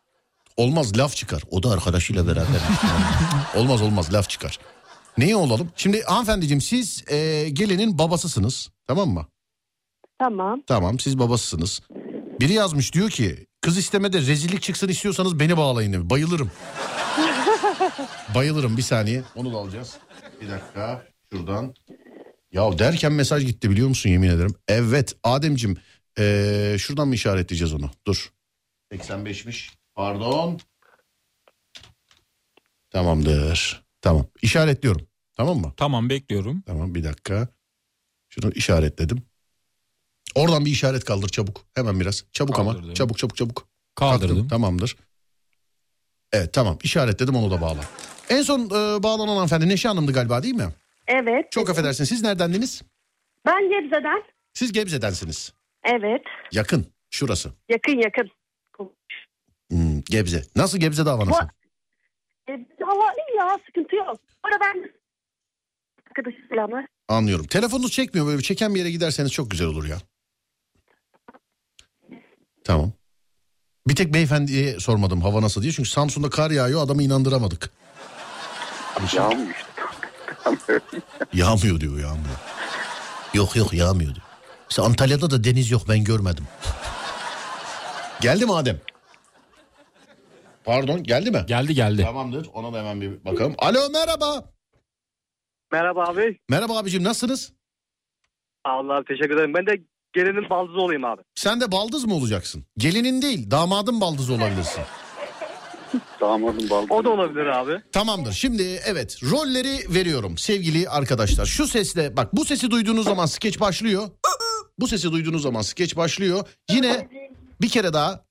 Olmaz laf çıkar. O da arkadaşıyla beraber. olmaz olmaz laf çıkar. Neyi olalım? Şimdi hanımefendiciğim siz e, gelinin babasısınız. Tamam mı? Tamam. Tamam siz babasısınız. Biri yazmış diyor ki kız istemede rezillik çıksın istiyorsanız beni bağlayın. demiş. Bayılırım. Bayılırım bir saniye. Onu da alacağız. Bir dakika şuradan. Ya derken mesaj gitti biliyor musun yemin ederim. Evet Ademcim ee, şuradan mı işaretleyeceğiz onu? Dur. 85'miş. Pardon. Tamamdır. Tamam. İşaretliyorum. Tamam mı? Tamam bekliyorum. Tamam bir dakika. Şunu işaretledim. Oradan bir işaret kaldır çabuk. Hemen biraz. Çabuk ama. Kaldırdım. Çabuk çabuk çabuk. Kaldırdım. Kaldırdım, Tamamdır. Evet tamam işaretledim onu da bağla. En son e, bağlanan hanımefendi Neşe Hanım'dı galiba değil mi? Evet. Çok affedersiniz siz neredendiniz? Ben Gebze'den. Siz Gebze'densiniz. Evet. Yakın şurası. Yakın yakın. Hmm, Gebze. Nasıl Gebze'de hava nasıl? E, hava iyi ya sıkıntı yok. Orada ben... Arkadaşım selamlar. Anlıyorum. Telefonunuz çekmiyor böyle bir çeken bir yere giderseniz çok güzel olur ya. Tamam. Bir tek beyefendiye sormadım hava nasıl diye. Çünkü Samsun'da kar yağıyor adamı inandıramadık. Yağmıyor işte. Yağmıyor diyor yağmıyor. Yok yok yağmıyor diyor. Mesela Antalya'da da deniz yok ben görmedim. geldi mi Adem? Pardon geldi mi? Geldi geldi. Tamamdır ona da hemen bir bakalım. Alo merhaba. Merhaba abi. Merhaba abicim nasılsınız? Allah abi teşekkür ederim. Ben de gelinin baldızı olayım abi. Sen de baldız mı olacaksın? Gelinin değil damadın baldızı olabilirsin. Damadım baldı. O da olabilir abi. Tamamdır. Şimdi evet rolleri veriyorum sevgili arkadaşlar. Şu sesle bak bu sesi duyduğunuz zaman skeç başlıyor. Bu sesi duyduğunuz zaman skeç başlıyor. Yine bir kere daha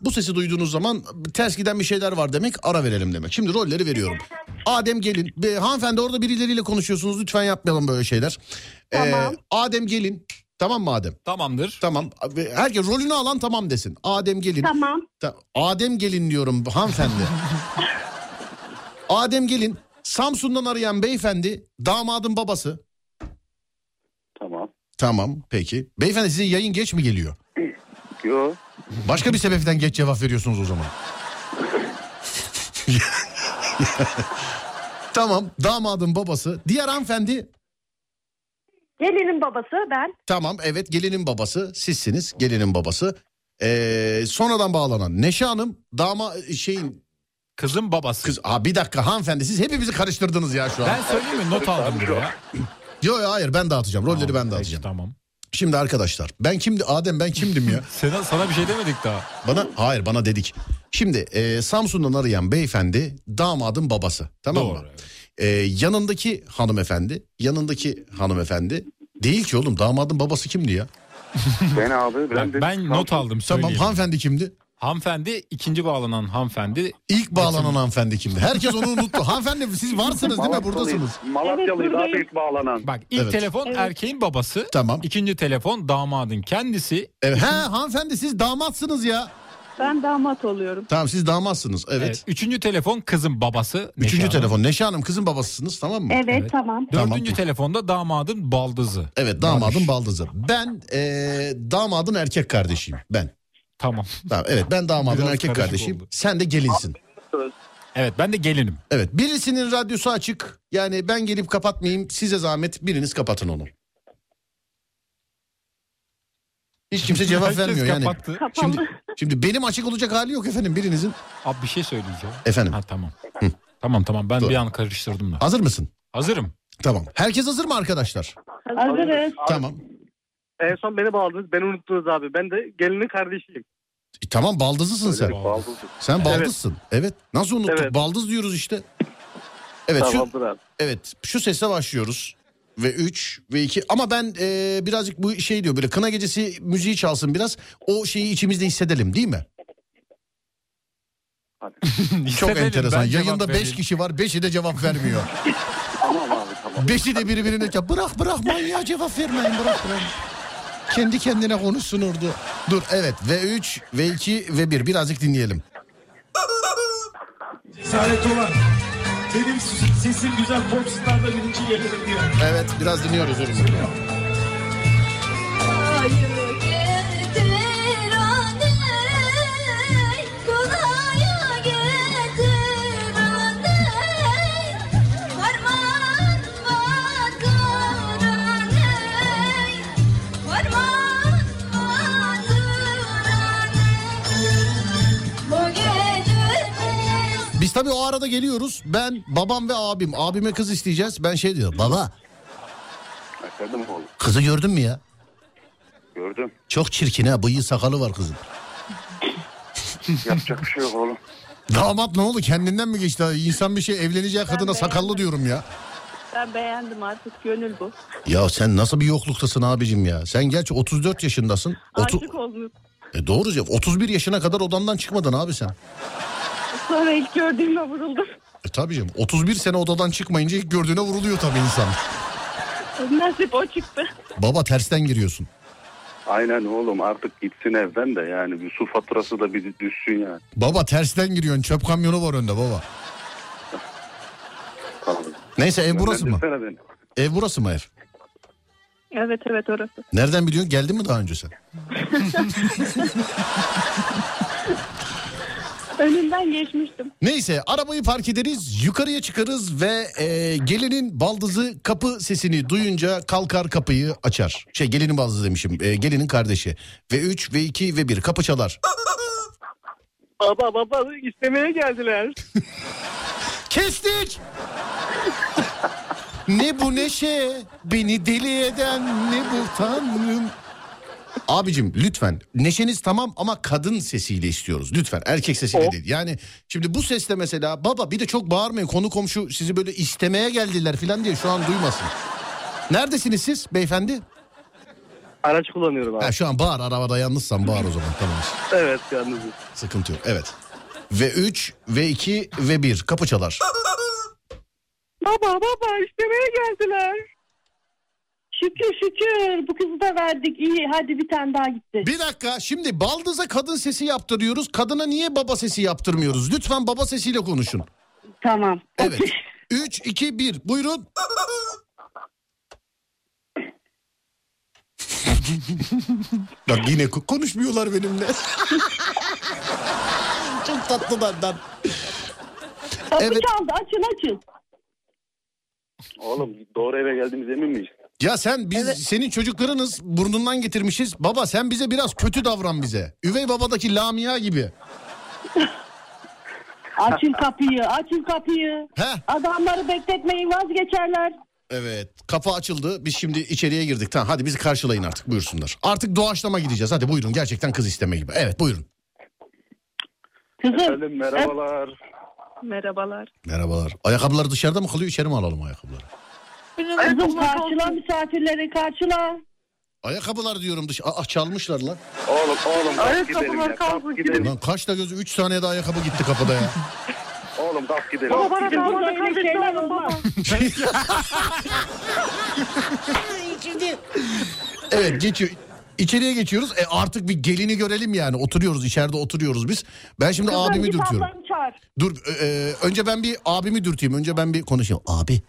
bu sesi duyduğunuz zaman ters giden bir şeyler var demek ara verelim demek. Şimdi rolleri veriyorum. Adem gelin. Be, hanımefendi orada birileriyle konuşuyorsunuz. Lütfen yapmayalım böyle şeyler. Ee, Tamam. Adem gelin. Tamam mı Adem? Tamamdır. Tamam. Ve Herkes rolünü alan tamam desin. Adem gelin. Tamam. Ta- Adem gelin diyorum hanımefendi. Adem gelin. Samsun'dan arayan beyefendi damadın babası. Tamam. Tamam peki. Beyefendi size yayın geç mi geliyor? Yo. Başka bir sebepten geç cevap veriyorsunuz o zaman. tamam damadın babası. Diğer hanımefendi Gelinin babası ben. tamam evet gelinin babası sizsiniz gelinin babası. Ee, sonradan bağlanan Neşe Hanım dama şeyin Kızın babası. kız ha bir dakika hanımefendi siz hepimizi karıştırdınız ya şu an. Ben söyleyeyim mi? Not aldım buraya. Yok ya hayır ben dağıtacağım. Rolleri Tamam, ben peki, dağıtacağım. Tamam. Şimdi arkadaşlar ben kimdi Adem ben kimdim ya? Sana, sana bir şey demedik daha. bana hayır bana dedik. Şimdi e, Samsun'dan arayan beyefendi damadın babası tamam mı? Doğru. E, yanındaki hanımefendi yanındaki hanımefendi değil ki oğlum damadın babası kimdi ya? Ben abi. Ben, de Ben, ben not aldım Tamam söyleyeyim. hanımefendi kimdi? hanımefendi ikinci bağlanan hanımefendi İlk bağlanan hanımefendi kimdi? Herkes onu unuttu. hanımefendi siz varsınız değil mi Malatyalıyım. buradasınız? Malatyalıyız Evet, abi ilk bağlanan. Bak ilk Evet. telefon erkeğin babası. Tamam. İkinci telefon damadın kendisi. Evet, he hanımefendi siz damatsınız ya. Ben damat oluyorum. Tamam siz damatsınız evet. Evet. Ee, Üçüncü telefon kızın babası. Neşe Üçüncü Hanım. telefon Neşe Hanım kızın babasısınız tamam mı? Evet, Evet. tamam. Dördüncü Tamam. telefonda damadın baldızı. Evet damadın Varmış. baldızı. Ben eee, damadın erkek kardeşiyim ben. Tamam. Tamam, evet ben damadın Biraz erkek karışık kardeşiyim. oldu. Sen de gelinsin. Evet ben de gelinim. Evet birisinin radyosu açık. Yani ben gelip kapatmayayım size zahmet biriniz kapatın onu. Hiç kimse cevap Herkes vermiyor yani. kapattı. Kapalı. Şimdi, şimdi benim açık olacak hali yok efendim birinizin. Abi bir şey söyleyeceğim. Efendim Ha tamam. Tamam tamam ben Dur. bir an karıştırdım da. hazır mısın? Hazırım. Tamam. Herkes hazır mı arkadaşlar? Hazırız. Tamam. En son beni bağladınız. Beni unuttunuz abi. Ben de gelinin kardeşiyim. E, tamam baldızısın sen. Baldı. Sen baldızsın. Evet. Nasıl unuttuk? Evet. Baldız diyoruz işte. Evet şu Tamamdır abi. Evet şu sesle başlıyoruz. Ve 3 ve 2 ama ben e, birazcık bu şey diyor böyle kına gecesi müziği çalsın biraz o şeyi içimizde hissedelim değil mi? Çok Hissedelim, enteresan ben cevap yayında 5 vereyim. kişi var 5'i de cevap vermiyor. Tamam abi tamam. 5'i de birbirine çap bırak bırak manyağa cevap vermeyin bırak bırak. Kendi kendine konuşsun orada. Dur evet ve 3 ve 2 ve 1 birazcık dinleyelim. Cesaret olan benim sesim güzel popstarda birinci yerim diyor. Evet biraz dinliyoruz durumu. Bir Biz tabii o arada geliyoruz. Ben, babam ve abim. Abime kız isteyeceğiz. Ben şey diyorum. Baba Efendim oğlum kızı gördün mü ya? gördüm. Çok çirkin ha. Bıyığı sakalı var kızın. Yapacak bir şey yok oğlum. Damat ne oldu? Kendinden mi geçti? İnsan bir şey evleneceği kadına sakallı diyorum ya. Ben beğendim artık gönül bu. Ya sen nasıl bir yokluktasın abicim ya? Sen gerçi 34 yaşındasın. Otu... Aşık oldum. E doğru ya. 31 yaşına kadar odandan çıkmadın abi sen. Sonra ilk gördüğümde vuruldum. E tabii canım. 31 sene odadan çıkmayınca ilk gördüğüne vuruluyor tabii insan. Nasip o çıktı. Baba tersten giriyorsun. Aynen oğlum artık gitsin evden de yani bir su faturası da bir düşsün yani. Baba tersten giriyorsun. Çöp kamyonu var önde baba. Tamam. Neyse ev burası mı? Yönlendirsene beni. Ev burası mı ev? Evet evet orası. Nereden biliyorsun? Geldin mi daha önce sen? Önünden geçmiştim. Neyse arabayı park ederiz, yukarıya çıkarız ve e, gelinin baldızı kapı sesini duyunca kalkar kapıyı açar. Şey gelinin baldızı demişim, e, gelinin kardeşi. Ve 3 ve 2 ve 1 kapı çalar. Baba baba istemeye geldiler. Kestik! ne bu neşe, beni deli eden ne bu tanrım. Abicim lütfen neşeniz tamam ama kadın sesiyle istiyoruz lütfen erkek sesiyle O- değil. Yani şimdi bu sesle mesela baba bir de çok bağırmayın konu komşu sizi böyle istemeye geldiler falan diye şu an duymasın. Neredesiniz siz beyefendi? Araç kullanıyorum abi. Ha, şu an bağır arabada yalnızsan bağır o zaman tamam Evet yalnız. sıkıntı yok evet. Ve 3 ve 2 ve 1 kapı çalar. Baba baba istemeye geldiler. Şükür şükür bu kızı da verdik iyi hadi bir tane daha gitti. Bir dakika şimdi baldıza kadın sesi yaptırıyoruz. Kadına niye baba sesi yaptırmıyoruz? Lütfen baba sesiyle konuşun. Tamam. Evet. 3, 2, 1 buyurun. Bak yine ko- konuşmuyorlar benimle. Çok tatlı benden. Kapı Evet. çaldı açın açın. Oğlum doğru eve geldiğimiz emin miyiz? Ya sen biz senin çocuklarınız burnundan getirmişiz. Baba sen bize biraz kötü davran bize. Üvey babadaki Lamia gibi. Açın kapıyı açın kapıyı. Heh. Adamları bekletmeyin vazgeçerler. Evet kafa açıldı biz şimdi içeriye girdik tamam hadi bizi karşılayın artık buyursunlar. Artık doğaçlama gideceğiz hadi buyurun gerçekten kız isteme gibi evet buyurun. Kızım Efendim merhabalar. Merhabalar. Merhabalar ayakkabılar dışarıda mı kalıyor içeri mi alalım ayakkabıları? kızım karşıla misafirleri karşıla. Ayakkabılar diyorum dış ah çalmışlar lan. Oğlum oğlum kalk gidelim kapılar ya. Kalk gidelim. Lan kaç da gözü 3 saniyede ayakkabı gitti kapıda ya. Oğlum kalk gidelim. Baba Kalk bana gidelim. kalmadı kardeşler olmaz. Evet geçiyor. İçeriye geçiyoruz. E artık bir gelini görelim yani. Oturuyoruz içeride oturuyoruz biz. Ben şimdi abimi Kızım dürtüyorum. kitaplarını çağır. Dur e, e, önce ben bir abimi dürteyim. Önce ben bir konuşayım. Abi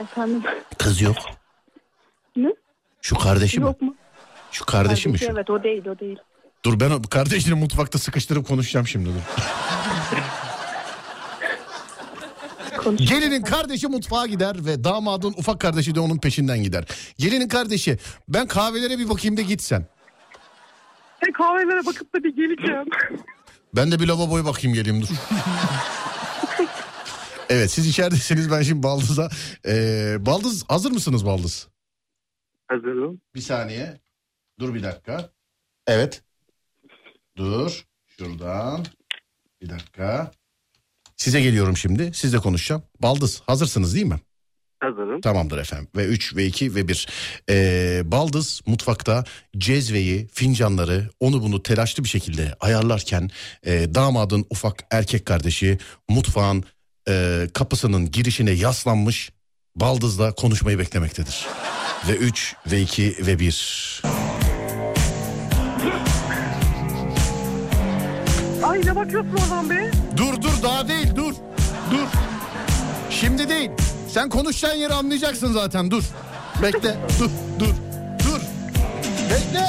Efendim kız yok. Ne? Şu kardeşi mi? yok mu? Şu kardeşi mi şu? Evet o değil o değil. Dur ben o kardeşini mutfakta sıkıştırıp konuşacağım şimdi dur. Konuş. Gelinin kardeşi mutfağa gider ve damadın ufak kardeşi de onun peşinden gider. Gelinin kardeşi ben kahvelere bir bakayım da git sen. E, kahvelere bakıp da bir geleceğim. Ben de bir lavaboya bakayım geleyim dur. evet siz içeridesiniz ben şimdi Baldız'a. Ee, Baldız hazır mısınız Baldız? Hazırım. Bir saniye. Dur bir dakika. Evet. Dur. Şuradan. Bir dakika. Size geliyorum şimdi. Sizle konuşacağım. Baldız hazırsınız değil mi? Hazırım. Tamamdır efendim. Ve 3 ve 2 ve 1. Baldız mutfakta cezveyi, fincanları onu bunu telaşlı bir şekilde ayarlarken ee, damadın ufak erkek kardeşi mutfağın ee, kapısının girişine yaslanmış Baldız'la konuşmayı beklemektedir. ve 3 ve 2 ve 1. Ay ne bakıyorsun oradan be? Dur dur daha değil dur. Dur. Şimdi değil. Sen konuşacağın yeri anlayacaksın zaten dur. Bekle dur dur dur. Bekle.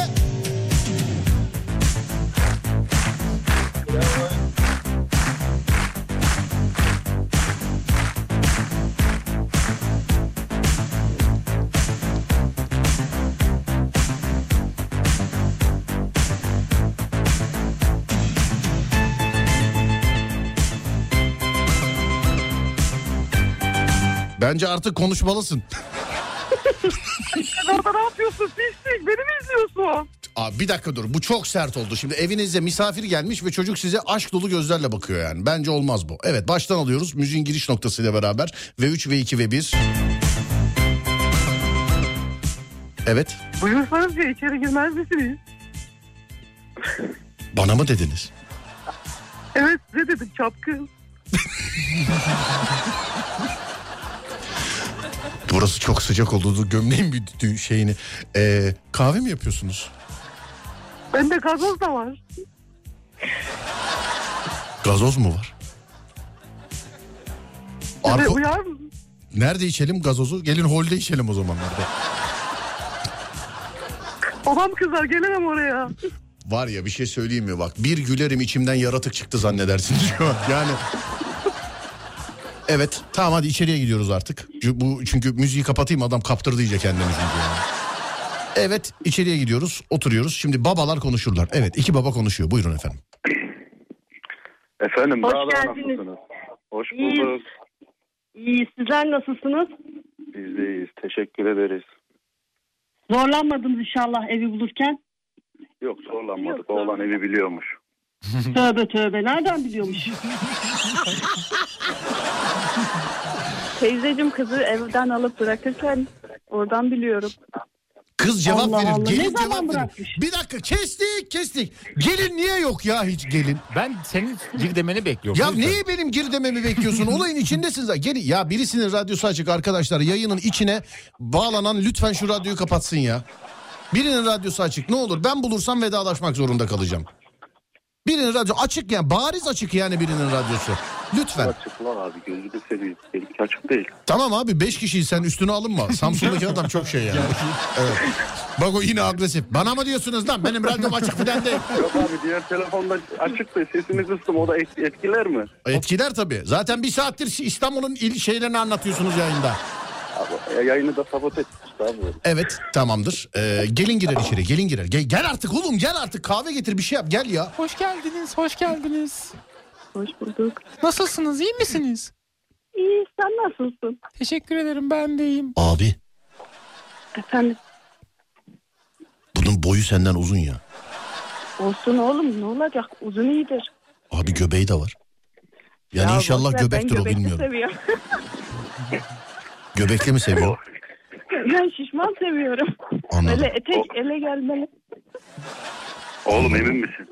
Bence artık konuşmalısın. Sen orada ne yapıyorsun? Pislik beni mi izliyorsun? Aa, bir dakika dur bu çok sert oldu. Şimdi evinize misafir gelmiş ve çocuk size aşk dolu gözlerle bakıyor yani. Bence olmaz bu. Evet baştan alıyoruz müziğin giriş noktasıyla beraber. V3, V2 ve V1. Evet Buyursanız ya içeri girmez misiniz? bana mı dediniz? Evet size dedim çapkın. Burası çok sıcak oldu. Dur, Gömleğin bir dü- şeyini. Ee, kahve mi yapıyorsunuz? Bende gazoz da var. Gazoz mu var? E, Size Arko- uyar mı? Nerede içelim gazozu? Gelin holde içelim o zamanlarda. Babam kızar gelemem oraya. Var ya bir şey söyleyeyim mi bak bir gülerim içimden yaratık çıktı zannedersin şu an. yani. Evet tamam hadi içeriye gidiyoruz artık. Çünkü Bu çünkü müziği kapatayım adam kaptırdı iyice kendini çünkü. yani. Evet içeriye gidiyoruz oturuyoruz. Şimdi babalar konuşurlar. Evet iki baba konuşuyor buyurun efendim. Efendim Hoş daha da geldiniz. nasılsınız? Hoş İyiyiz. bulduk. İyi sizler nasılsınız? Biz de iyiyiz. Teşekkür ederiz. Zorlanmadınız inşallah evi bulurken. Yok zorlanmadık. Oğlan evi biliyormuş. tövbe tövbe nereden biliyormuş? Teyzecim kızı evden alıp bırakırken oradan biliyorum. Kız cevap Allah verir. Allah, Gelin ne cevap zaman verir. bırakmış? Bir dakika kestik kestik. Gelin niye yok ya hiç gelin? Ben senin gir demeni bekliyorum. Ya O yüzden. niye benim gir dememi bekliyorsun? Olayın içindesiniz. ha. Gel ya birisinin radyosu açık arkadaşlar. Yayının içine bağlanan lütfen şu radyoyu kapatsın ya. Birinin radyosu açık. Ne olur ben bulursam vedalaşmak zorunda kalacağım. Birinin radyo açık yani bariz açık yani birinin radyosu. Lütfen. Açık lan abi gözünü seveyim. Benimki açık değil. Tamam abi 5 kişiyi sen üstüne alınma. Samsun'daki adam çok şey yani. Evet. Bak o yine agresif. Bana mı diyorsunuz lan benim radyom açık falan değil. Yok abi diğer telefonda açık da sesini kıstım. O da et- etkiler mi? Etkiler tabii. Zaten bir saattir İstanbul'un il şeylerini anlatıyorsunuz yayında. Abi, yayını da sabot etmişti abi. Evet tamamdır. Ee, gelin girer içeri gelin girer. Gel, gel artık oğlum gel artık kahve getir bir şey yap gel ya. Hoş geldiniz, hoş geldiniz. Hoş bulduk. Nasılsınız, iyi misiniz? İyi sen nasılsın? Teşekkür ederim, ben de iyiyim. Abi Efendim bunun boyu senden uzun ya. olsun oğlum ne olacak uzun iyidir. Abi göbeği de var. Yani Ya inşallah boşver, ben göbektir o göbekli bilmiyorum. seviyorum. Göbekli mi seviyor? ben şişman seviyorum. Anladım. Böyle etek ele gelmeli. Oğlum emin misin?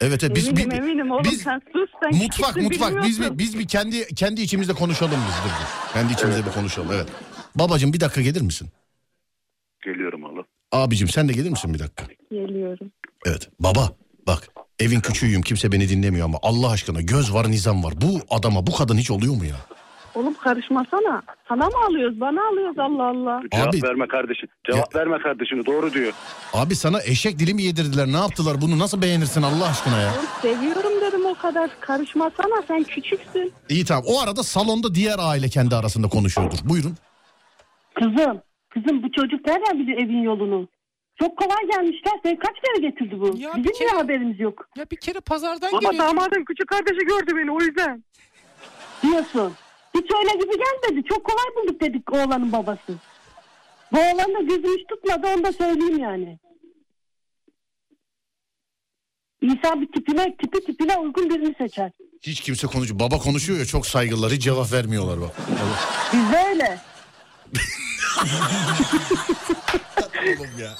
Evet evet biz, eminim bir- eminim oğlum biz sen sus sen. mutfak kimsin mutfak biz bilmiyorsun. bir, biz bir kendi kendi içimizde konuşalım biz dur. bir. Kendi içimizde bir konuşalım evet. Babacım bir dakika gelir misin? Geliyorum oğlum. Abicim sen de gelir misin bir dakika? Geliyorum. Evet baba bak evin küçüğüyüm kimse beni dinlemiyor ama Allah aşkına göz var nizam var. Bu adama bu kadın hiç oluyor mu ya? Oğlum karışmasana. Sana mı alıyoruz? Bana alıyoruz Allah Allah. Cevap Abi- verme kardeşim. Cevap verme kardeşim. Doğru diyor. Abi sana eşek dilimi yedirdiler. Ne yaptılar? Bunu nasıl beğenirsin Allah aşkına ya? Oğlum seviyorum dedim o kadar. Karışmasana sen küçüksün. İyi tamam. O arada salonda diğer aile kendi arasında konuşuyordur. Buyurun. Kızım, kızım bu çocuk nereden biliyor evin yolunu? Çok kolay gelmişler. Seni kaç kere getirdi bu? Ya bir Bizim kere- niye haberimiz yok? Ya bir kere pazardan Ama geliyor. damadım küçük kardeşi gördü beni o yüzden. Diyorsun. Hiç öyle gibi gelmedi. Çok kolay bulduk dedik oğlanın babası. Bu oğlan da gözüm hiç tutmadı onu da söyleyeyim yani. İnsan bir tipine, tipi tipine uygun birini seçer. Hiç kimse konuşuyor. Baba konuşuyor ya çok saygılılar. Hiç cevap vermiyorlar bak. Bizde öyle. Oğlum ya.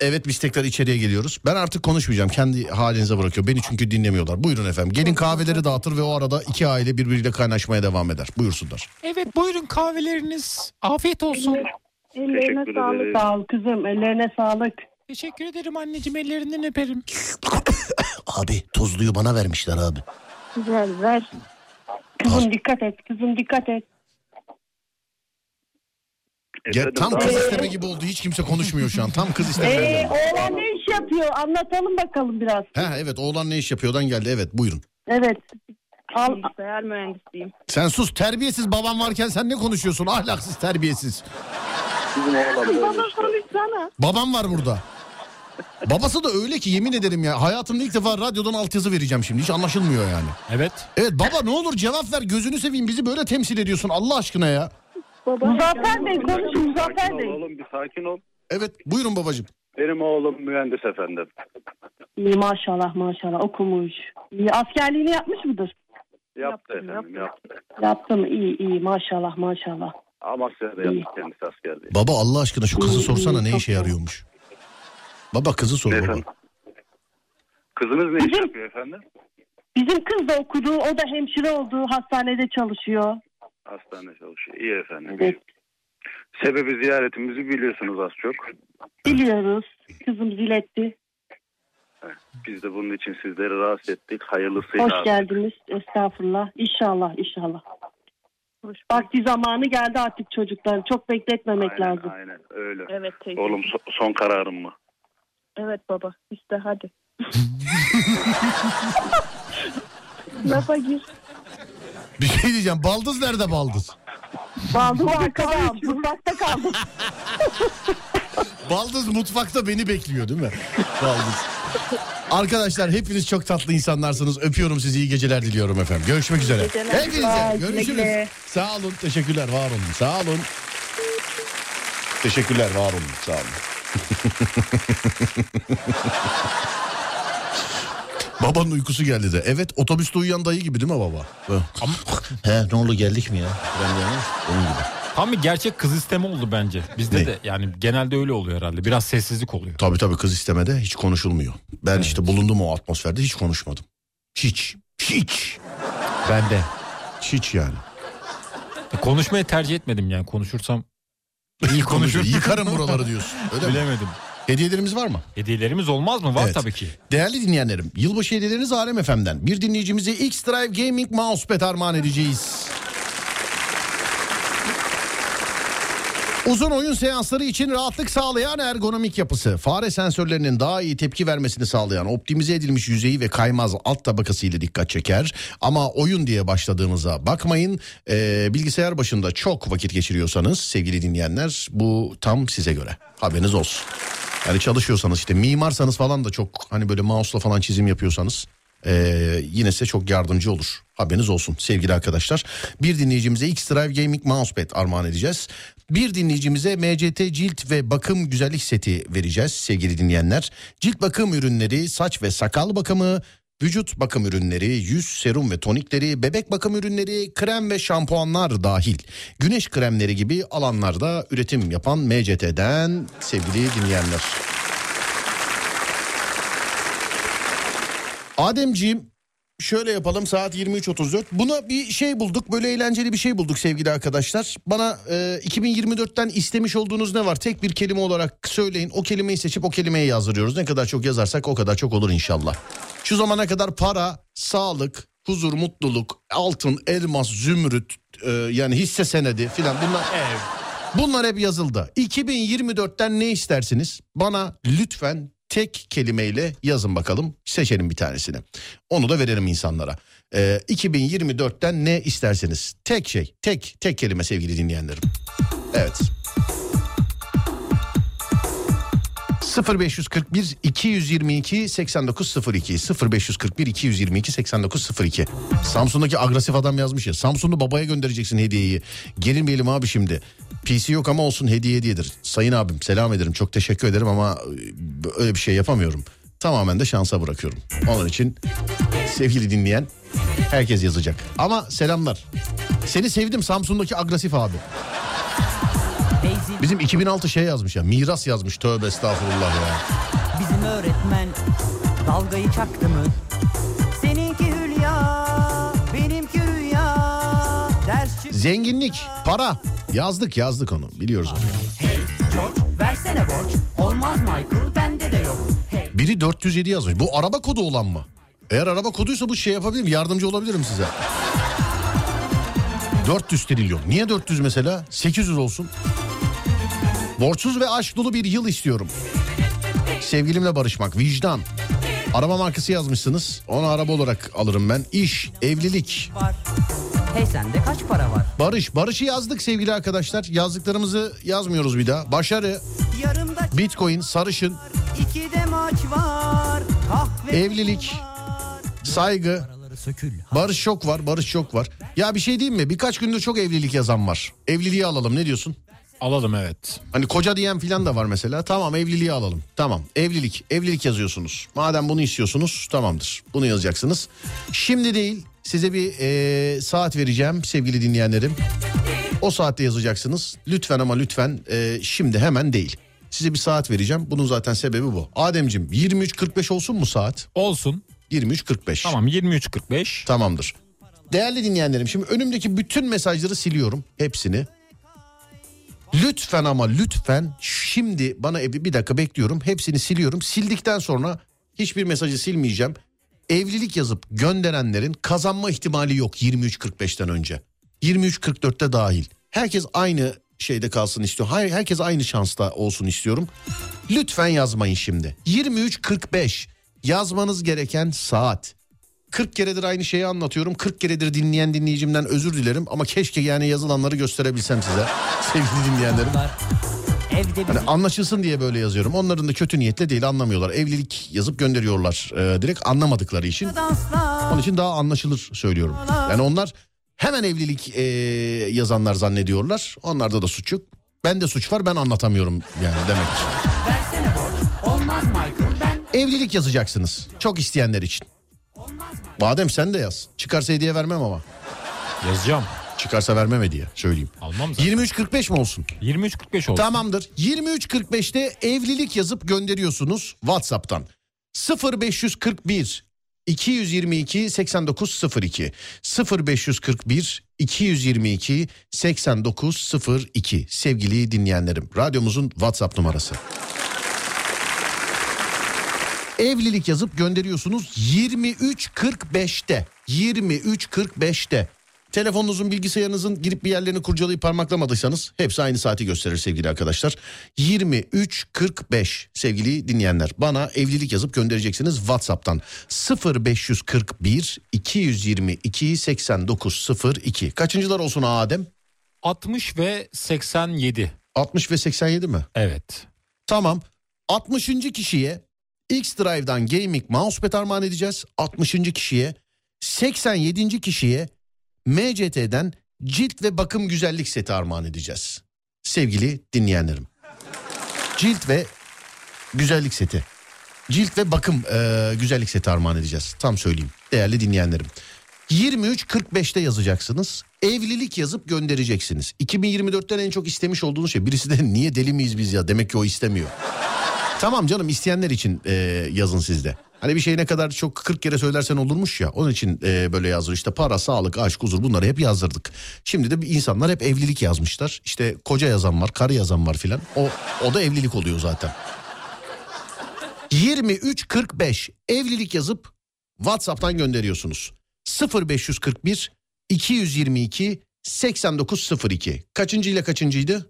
Evet biz tekrar içeriye geliyoruz. Ben artık konuşmayacağım. Kendi halinize bırakıyor. Beni çünkü dinlemiyorlar. Buyurun efendim. Gelin kahveleri dağıtır ve o arada iki aile birbiriyle kaynaşmaya devam eder. Buyursunlar. Evet, buyurun kahveleriniz. Afiyet olsun. Ellerine Teşekkür sağlık. ederiz. Sağ ol kızım ellerine sağlık. Teşekkür ederim anneciğim, ellerinden öperim. Abi tuzluyu bana vermişler abi. Ver ver. Kızım dikkat et, kızım dikkat et. Ya, Efendim, tam daha- kız isteme gibi oldu. Hiç kimse konuşmuyor şu an. Tam kız isteme. Ee, gibi. oğlan ne iş yapıyor? Anlatalım bakalım biraz. Ha evet oğlan ne iş yapıyordan geldi. Evet buyurun. Evet. Al, Bilgisayar mühendisiyim. Sen sus terbiyesiz babam varken sen ne konuşuyorsun ahlaksız terbiyesiz. Bizim oğlan böyle Bana işte. konuşsana. Babam var burada. Babası da öyle ki yemin ederim ya hayatımda ilk defa radyodan altyazı vereceğim şimdi hiç anlaşılmıyor yani. Evet. Evet baba ne olur cevap ver gözünü seveyim bizi böyle temsil ediyorsun Allah aşkına ya. Baba, Muzaffer Bey konuşun Sakin Muzaffer ol Bey. Oğlum bir sakin ol. Evet buyurun babacığım. Benim oğlum mühendis efendim. İyi maşallah maşallah okumuş. İyi, askerliğini yapmış mıdır? Yaptı Yaptım, efendim yaptı. Yaptı mı? İyi iyi maşallah maşallah. Amasya'da İyi. yaptı kendisi askerliği. Baba Allah aşkına şu kızı İyi, sorsana iyi, ne çok işe iyi. yarıyormuş. Baba kızı sor baba. Efendim. Kızınız ne iş Bizim- yapıyor efendim? Bizim kız da okudu. O da hemşire oldu. Hastanede çalışıyor. Hastane çalışıyor. İyi efendim. Evet. Sebebi ziyaretimizi biliyorsunuz az çok. Biliyoruz. Kızımız iletti. Biz de bunun için sizleri rahatsız ettik. Hayırlısıyla. Hoş geldiniz. Estağfurullah. İnşallah inşallah. Vakti zamanı geldi artık çocuklar. Çok bekletmemek Aynen, lazım. aynen öyle. Evet teyze. Oğlum so- son kararım mı? Evet baba. İşte hadi. Lafa gir. Bir şey diyeceğim baldız nerede baldız? Baldım arkada. Mutfakta kaldım. Baldız mutfakta beni bekliyor değil mi? Baldız. Arkadaşlar hepiniz çok tatlı insanlarsınız. Öpüyorum sizi iyi geceler diliyorum efendim. Görüşmek üzere. geceler. Hepinize Bye, güle görüşürüz. güle. Sağ olun teşekkürler var olun sağ olun. Teşekkürler var olun sağ olun. Babanın uykusu geldi de. Evet otobüste uyuyan dayı gibi değil mi baba? He ne oldu geldik mi ya? Ben de onun gibi. Tam bir gerçek kız isteme oldu bence. Bizde Ne? de yani genelde öyle oluyor herhalde. Biraz sessizlik oluyor. Tabii tabii kız istemede hiç konuşulmuyor. Ben işte bulundum o atmosferde hiç konuşmadım. Hiç. Hiç. Bende. Hiç yani. E, Konuşmayı tercih etmedim yani. Konuşursam iyi konuşurum. Yıkarım buraları diyorsun. Öyle mi? Bilemedim. Hediyelerimiz var mı? Hediyelerimiz olmaz mı? Var Evet. tabii ki. Değerli dinleyenlerim, yılbaşı hediyeleriniz Alem FM'den. Bir dinleyicimize X-Drive Gaming Mousepad armağan edeceğiz. Uzun oyun seansları için rahatlık sağlayan ergonomik yapısı, fare sensörlerinin daha iyi tepki vermesini sağlayan optimize edilmiş yüzeyi ve kaymaz alt tabakası ile dikkat çeker. Ama oyun diye başladığınıza bakmayın. Ee, bilgisayar başında çok vakit geçiriyorsanız sevgili dinleyenler bu tam size göre. Haberiniz olsun. Yani çalışıyorsanız işte mimarsanız falan da çok hani böyle mouse'la falan çizim yapıyorsanız ee, yine size çok yardımcı olur. Haberiniz olsun sevgili arkadaşlar. Bir dinleyicimize X-Drive Gaming Mousepad armağan edeceğiz. Bir dinleyicimize MCT cilt ve bakım güzellik seti vereceğiz sevgili dinleyenler. Cilt bakım ürünleri, saç ve sakal bakımı, vücut bakım ürünleri, yüz serum ve tonikleri, bebek bakım ürünleri, krem ve şampuanlar dahil. Güneş kremleri gibi alanlarda üretim yapan MCT'den sevgili dinleyenler. Ademciğim şöyle yapalım saat 23.34. Buna bir şey bulduk böyle eğlenceli bir şey bulduk sevgili arkadaşlar. Bana e, 2024'ten istemiş olduğunuz ne var tek bir kelime olarak söyleyin. O kelimeyi seçip o kelimeye yazdırıyoruz. Ne kadar çok yazarsak o kadar çok olur inşallah. Şu zamana kadar para, sağlık, huzur, mutluluk, altın, elmas, zümrüt e, yani hisse senedi filan bunlar... Bunlar hep yazıldı. 2024'ten ne istersiniz? Bana lütfen tek kelimeyle yazın bakalım. Seçelim bir tanesini. Onu da verelim insanlara. Ee, 2024'ten ne istersiniz? Tek şey, tek, tek kelime sevgili dinleyenlerim. Evet. 0541 222 8902 0541 222 8902 Samsun'daki agresif adam yazmış ya Samsunlu babaya göndereceksin hediyeyi gerilmeyelim abi şimdi PC yok ama olsun hediye hediyedir sayın abim selam ederim çok teşekkür ederim ama e, öyle bir şey yapamıyorum tamamen de şansa bırakıyorum onun için sevgili dinleyen herkes yazacak ama selamlar seni sevdim Samsun'daki agresif abi bizim 2006 şey yazmış ya miras yazmış tövbe estağfurullah ya Bizim öğretmen dalgayı çaktı mı? Seninki hülya, benimki rüya. Ders çık Zenginlik, para. Yazdık yazdık onu biliyoruz onu. George, versene borç. Olmaz Michael, bende de yok. Hey, Biri 407 yazmış. Bu araba kodu olan mı? Eğer araba koduysa bu şey yapabilirim yardımcı olabilirim size. 400 trilyon. Niye 400 mesela? 800 olsun. Borçsuz ve aşk dolu bir yıl istiyorum. Sevgilimle barışmak, vicdan. Araba markası yazmışsınız. Onu araba olarak alırım ben. İş, evlilik, var. Hey sende kaç para var? barış. Barış'ı yazdık sevgili arkadaşlar. Yazdıklarımızı yazmıyoruz bir daha. Başarı, Yarımda bitcoin, sarışın, iki de maç var. Kahve Evlilik. var. saygı, sökül. Barış Şok var, Barış Şok var. Ya bir şey diyeyim mi? Birkaç gündür çok evlilik yazan var. Evliliği alalım ne diyorsun? Alalım evet. Hani koca diyen filan da var mesela. Tamam evliliği alalım. Tamam evlilik. Evlilik yazıyorsunuz. Madem bunu istiyorsunuz tamamdır. Bunu yazacaksınız. Şimdi değil size bir eee, saat vereceğim sevgili dinleyenlerim. O saatte yazacaksınız. Lütfen ama lütfen eee, şimdi hemen değil. Size bir saat vereceğim. Bunun zaten sebebi bu. Ademcim 23.45 olsun mu saat? Olsun. 23.45. Tamam 23.45. Tamamdır. Değerli dinleyenlerim şimdi önümdeki bütün mesajları siliyorum hepsini. Lütfen ama lütfen şimdi bana evli bir dakika bekliyorum. Hepsini siliyorum. Sildikten sonra hiçbir mesajı silmeyeceğim. Evlilik yazıp gönderenlerin kazanma ihtimali yok 23.45'ten önce. 23.44'te dahil. Herkes aynı şeyde kalsın istiyorum. Her- Herkes aynı şansta olsun istiyorum. Lütfen yazmayın şimdi. 23.45 yazmanız gereken saat. 40 keredir aynı şeyi anlatıyorum. 40 keredir dinleyen dinleyicimden özür dilerim ama keşke yani yazılanları gösterebilsem size sevgili dinleyenlerim. Evde Hani anlaşılsın diye böyle yazıyorum. Onların da kötü niyetle değil anlamıyorlar. Evlilik yazıp gönderiyorlar e, direkt anlamadıkları için. Onun için daha anlaşılır söylüyorum. Yani onlar hemen evlilik e, yazanlar zannediyorlar. Onlarda da suç yok. Bende suç var ben anlatamıyorum yani demek ki. versene borç. Olmaz Michael ben Evlilik yazacaksınız. Çok isteyenler için. Badem sen de yaz. Çıkarsa hediye vermem ama. Yazacağım. Çıkarsa vermem hediye söyleyeyim. Almam zaten. 23.45 mi olsun? 23.45 olsun. Tamamdır. 23.45'te evlilik yazıp gönderiyorsunuz WhatsApp'tan. 0541 222 8902 0541 222 8902 sevgili dinleyenlerim radyomuzun WhatsApp numarası. Evlilik yazıp gönderiyorsunuz 23.45'te. 23.45'te. Telefonunuzun bilgisayarınızın girip bir yerlerini kurcalayıp parmaklamadıysanız hepsi aynı saati gösterir sevgili arkadaşlar. 23.45 sevgili dinleyenler bana evlilik yazıp göndereceksiniz Whatsapp'tan 0541 222 8902. Kaçıncılar olsun Adem? 60 ve 87. 60 ve 87 mi? Evet. Tamam. 60. kişiye X Drive'dan gaming mousepad armağan edeceğiz. 60. kişiye 87. kişiye MCT'den cilt ve bakım güzellik seti armağan edeceğiz. Sevgili dinleyenlerim. Cilt ve güzellik seti. Cilt ve bakım eee, güzellik seti armağan edeceğiz. Tam söyleyeyim değerli dinleyenlerim. 23.45'te yazacaksınız. Evlilik yazıp göndereceksiniz. 2024'ten en çok istemiş olduğunuz şey. Birisi de niye deli miyiz biz ya demek ki o istemiyor. tamam canım isteyenler için e, yazın sizde. Hani bir şey ne kadar çok 40 kere söylersen olurmuş ya. Onun için e, böyle yazılır işte para, sağlık, aşk, huzur bunları hep yazdırdık. Şimdi de insanlar hep evlilik yazmışlar. İşte koca yazan var, karı yazan var filan. O, o da evlilik oluyor zaten. 23.45 evlilik yazıp WhatsApp'tan gönderiyorsunuz. 0541 222 8902. Kaçıncı ile kaçıncıydı?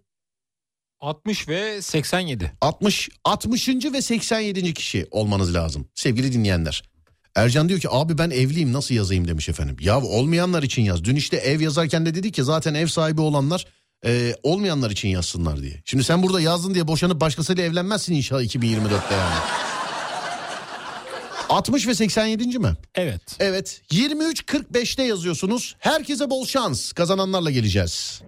60 ve 87. 60 60. ve 87. kişi olmanız lazım sevgili dinleyenler. Ercan diyor ki abi ben evliyim nasıl yazayım demiş efendim. Ya olmayanlar için yaz. Dün işte ev yazarken de dedik ki zaten ev sahibi olanlar e, olmayanlar için yazsınlar diye. Şimdi sen burada yazdın diye boşanıp başkasıyla evlenmezsin inşallah 2024'te yani. 60 ve 87. mi? Evet. Evet 23.45'te yazıyorsunuz. Herkese bol şans. Kazananlarla geleceğiz.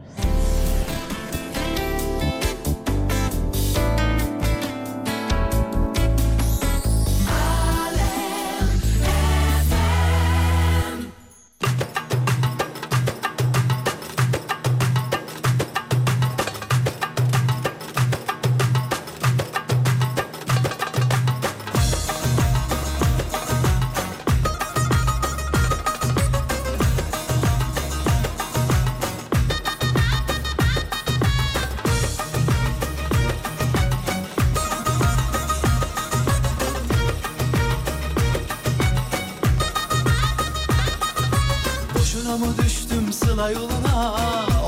Boşuna mı düştüm sıla yoluna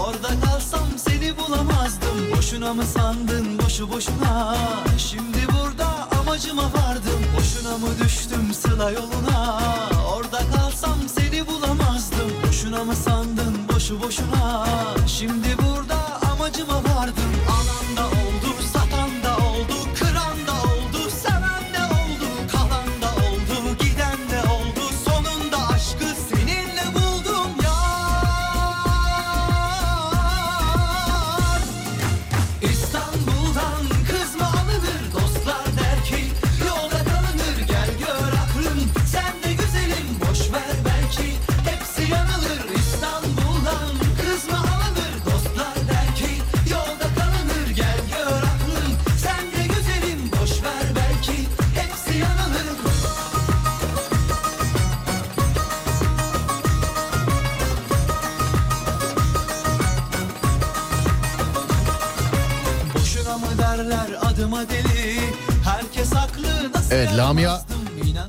Orada kalsam seni bulamazdım Boşuna mı sandın boşu boşuna Şimdi burada amacıma vardım Boşuna mı düştüm sıla yoluna Orada kalsam seni bulamazdım Boşuna mı sandın boşu boşuna Şimdi burada amacıma vardım Alan da oldu satan da oldu Kıran da oldu seven de oldu Kalan da oldu giden de oldu Sonunda aşkı derler adıma deli Herkes haklı nasıl Evet Lamia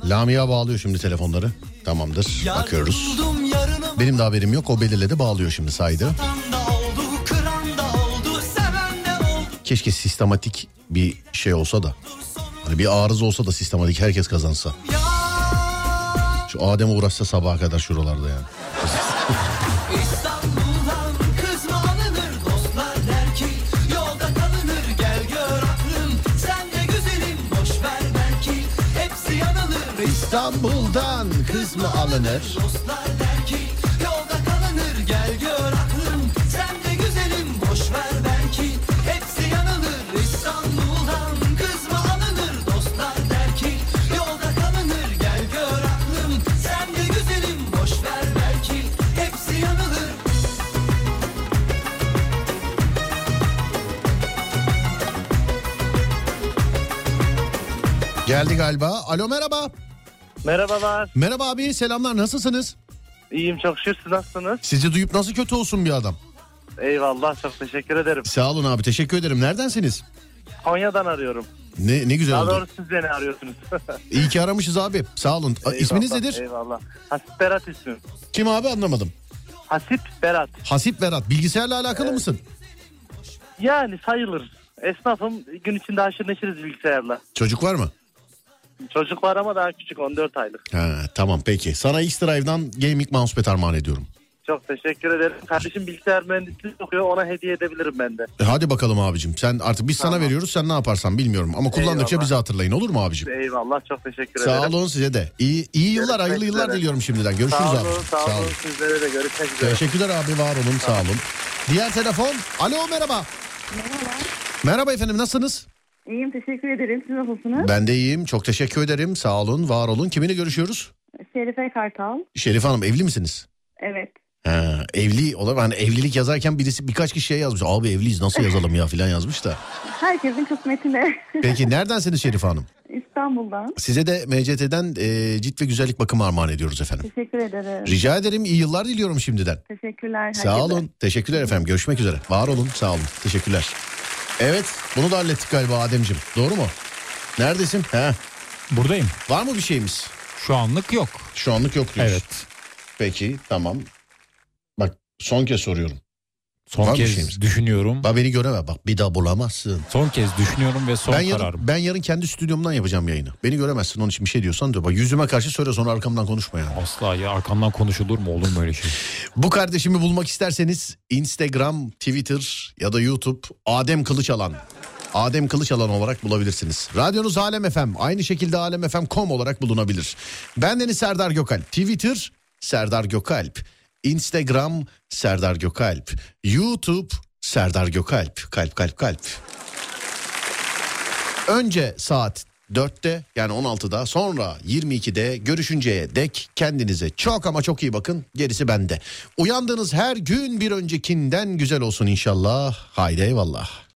Lamia bağlıyor şimdi telefonları. Tamamdır. Bakıyoruz. buldum yarınım Benim de haberim yok. O belirledi bağlıyor şimdi saydı. da oldu Kıran da oldu seven de oldu Keşke sistematik bir şey olsa da. Hani bir arıza olsa da sistematik herkes kazansa. Şu Adem uğraşsa sabaha kadar şuralarda yani. İstanbul'dan kızma alınır Dostlar der ki yolda kalınır Gel gör aklım sen de güzelim Boş ver belki hepsi yanılır İstanbul'dan kız mı alınır? Dostlar der ki yolda kalınır gel gör aklım sen de güzelim boş ver belki hepsi yanılır İstanbul'dan kız mı alınır dostlar der ki yolda kalınır gel gör aklım sen de güzelim boş ver belki hepsi yanılır Geldi galiba. Alo merhaba. Merhabalar. Merhaba abi selamlar nasılsınız? İyiyim çok şükür siz nasılsınız? Sizi duyup nasıl kötü olsun bir adam? Eyvallah çok teşekkür ederim. Sağ olun abi teşekkür ederim. Neredensiniz? Konya'dan arıyorum. Ne, ne güzel Daha oldu. doğrusu siz beni arıyorsunuz. İyi ki aramışız abi. Sağ olun. A, İsminiz Eyvallah, nedir? Eyvallah. Hasip Berat ismim. Kim abi anlamadım. Hasip Berat. Hasip Berat. Bilgisayarla alakalı mısın? Yani sayılır. Esnafım gün içinde haşır neşiriz bilgisayarla. Çocuk var mı? Çocuk var ama daha küçük 14 aylık. Ha, tamam peki. Sana X-Drive'dan gaming mousepad armağan ediyorum. Çok teşekkür ederim. Kardeşim bilgisayar mühendisliği okuyor ona hediye edebilirim ben de. E, hadi bakalım abicim. Sen artık biz sana veriyoruz. Sen ne yaparsan bilmiyorum. Ama kullandıkça Eyvallah. bizi hatırlayın olur mu abicim? Eyvallah çok teşekkür Sağ ederim. olun size de. İyi, iyi yıllar, Görüşmek hayırlı yıllar üzere. diliyorum şimdiden. Görüşürüz sağ abi. olun, Sağ, olun. Sizlere de görüşmek üzere. Teşekkürler abi var olun sağ olun. Diğer telefon. Alo merhaba. Merhaba efendim nasılsınız? İyiyim teşekkür ederim. Siz nasılsınız? Ben de iyiyim. Çok teşekkür ederim. Sağ olun, var olun. Kiminle görüşüyoruz? Şerife Kartal. Şerife Hanım evli misiniz? Evet. Ha, evli olabilir. Hani evlilik yazarken birisi birkaç kişiye yazmış. Abi evliyiz nasıl yazalım ya filan yazmış da. Herkesin kısmetine. Peki neredensiniz Şerife Hanım? İstanbul'dan. Size de MCT'den e, cilt ve güzellik bakımı armağan ediyoruz efendim. Teşekkür ederim. Rica ederim. iyi yıllar diliyorum şimdiden. Teşekkürler. herkese. Sağ olun. Teşekkürler efendim. Görüşmek üzere. Var olun. Sağ olun. Teşekkürler. Evet. Bunu da hallettik galiba Ademcim. Doğru mu? Neredesin? He. Buradayım. Var mı bir şeyimiz? Şu anlık yok. Şu anlık yok diyorsun. Evet. Peki tamam. Bak son kez soruyorum. Son Var mı kez şeyimiz? düşünüyorum. Bak beni göreme bak bir daha bulamazsın. Son kez düşünüyorum ve son ben yarın, kararım. Ben yarın kendi stüdyomdan yapacağım yayını. Beni göremezsin onun için bir şey diyorsan diyor. Bak yüzüme karşı söyle sonra arkamdan konuşma yani. Asla ya arkamdan konuşulur mu olur mu öyle şey? Bu kardeşimi bulmak isterseniz Instagram, Twitter ya da YouTube Adem Kılıçalan. Adem Kılıçalan olarak bulabilirsiniz. Radyonuz Alem FM. Aynı şekilde alemfm.com olarak bulunabilir. Bendeniz Serdar Gökalp. Twitter Serdar Gökalp. Instagram Serdar Gökalp. YouTube Serdar Gökalp. Kalp kalp kalp. Önce saat 4'te yani 16'da sonra 22'de görüşünceye dek kendinize çok ama çok iyi bakın. Gerisi bende. Uyandığınız her gün bir öncekinden güzel olsun inşallah. Haydi eyvallah.